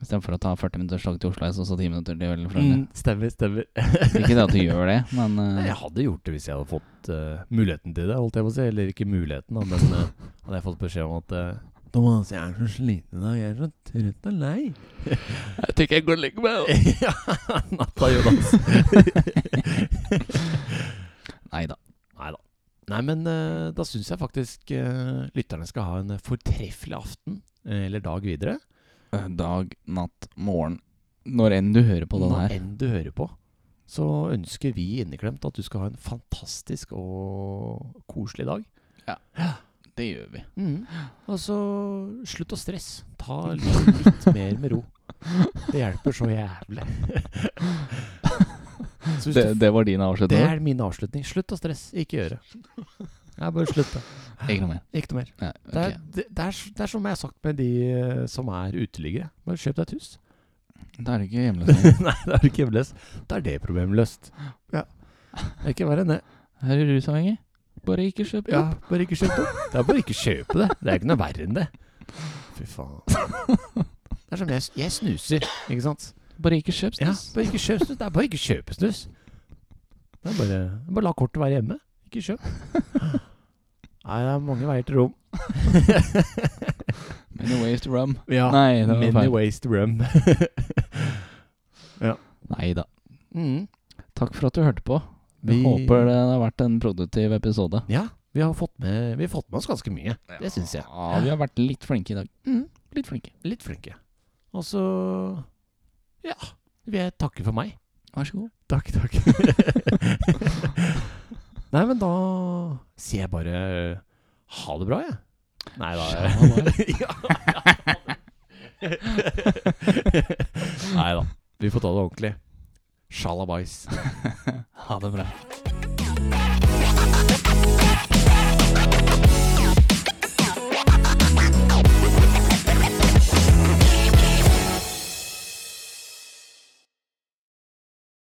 S2: Istedenfor å ta 40 minutters tog til Oslo S, og så 10 minutter til
S1: Mm.
S2: Frogner.
S1: Stemmer, stemmer.
S2: Ikke det at du gjør det, men eh,
S1: Jeg hadde gjort det hvis jeg hadde fått eh, muligheten til det, holdt jeg på å si. Eller ikke muligheten, da, men eh, hadde jeg fått beskjed om at eh, Thomas, jeg er så sliten i dag. Jeg er så trøtt og lei.
S2: Jeg tenker jeg går og legger meg.
S1: ja, natta, Jonas.
S2: Nei da.
S1: Nei da. Nei, men eh, da syns jeg faktisk eh, lytterne skal ha en fortreffelig aften eh, eller dag videre.
S2: Eh, Dag, natt, morgen. Når enn du hører på den
S1: Når
S2: her.
S1: enn du hører på, så ønsker vi inneklemt at du skal ha en fantastisk og koselig dag.
S2: Det gjør vi.
S1: Og så slutt å stresse. Ta litt, litt mer med ro. Det hjelper så jævlig. Så hvis
S2: Det,
S1: du,
S2: det var din
S1: det
S2: avslutning?
S1: er min avslutning. Slutt å stresse. Ikke gjøre. Nei, bare slutt, da.
S2: Ikke noe mer.
S1: Ikke noe mer.
S2: Nei,
S1: Det er,
S2: ok.
S1: det, det, er, s- det er som jeg har sagt med de eh, som er uteliggere. Bare kjøp deg et hus.
S2: Da er du ikke hjemløs lenger.
S1: Nei, da er du ikke hjemløs. Da er det problemet løst. Ja. Det er ikke verre enn det.
S2: Er du rusavhengig? Bare ikke kjøp
S1: Ja, bare ikke kjøp det. Det er bare ikke kjøpe det. Det er ikke noe verre enn det. Fy faen. Det er som jeg, jeg snuser, ikke sant.
S2: Bare ikke kjøp
S1: Ja,
S2: snus.
S1: bare ikke kjøp snus. Det er bare ikke kjøpe snus. Det er bare, bare la kortet være hjemme. Ikke kjøp. Nei, det er mange veier til rom.
S2: Many ways to rum.
S1: Ja,
S2: Nei, det var
S1: many
S2: feil.
S1: ways to rum.
S2: Nei da.
S1: mm.
S2: Takk for at du hørte på. Vi
S1: Vi-
S2: håper det har vært en produktiv episode.
S1: Ja, vi har fått med, vi har fått med oss ganske mye. Det syns jeg.
S2: Ja, vi har vært litt flinke i dag.
S1: Mm,
S2: Litt flinke.
S1: litt flinke. Og så ja, vil jeg takke for meg.
S2: Vær så god.
S1: Takk, takk. Nei, men da sier jeg bare ha det bra, jeg. Nei da. ja, ja. Nei da. Vi får ta det ordentlig. Shalabais.
S2: Ha det bra.
S3: Thank you.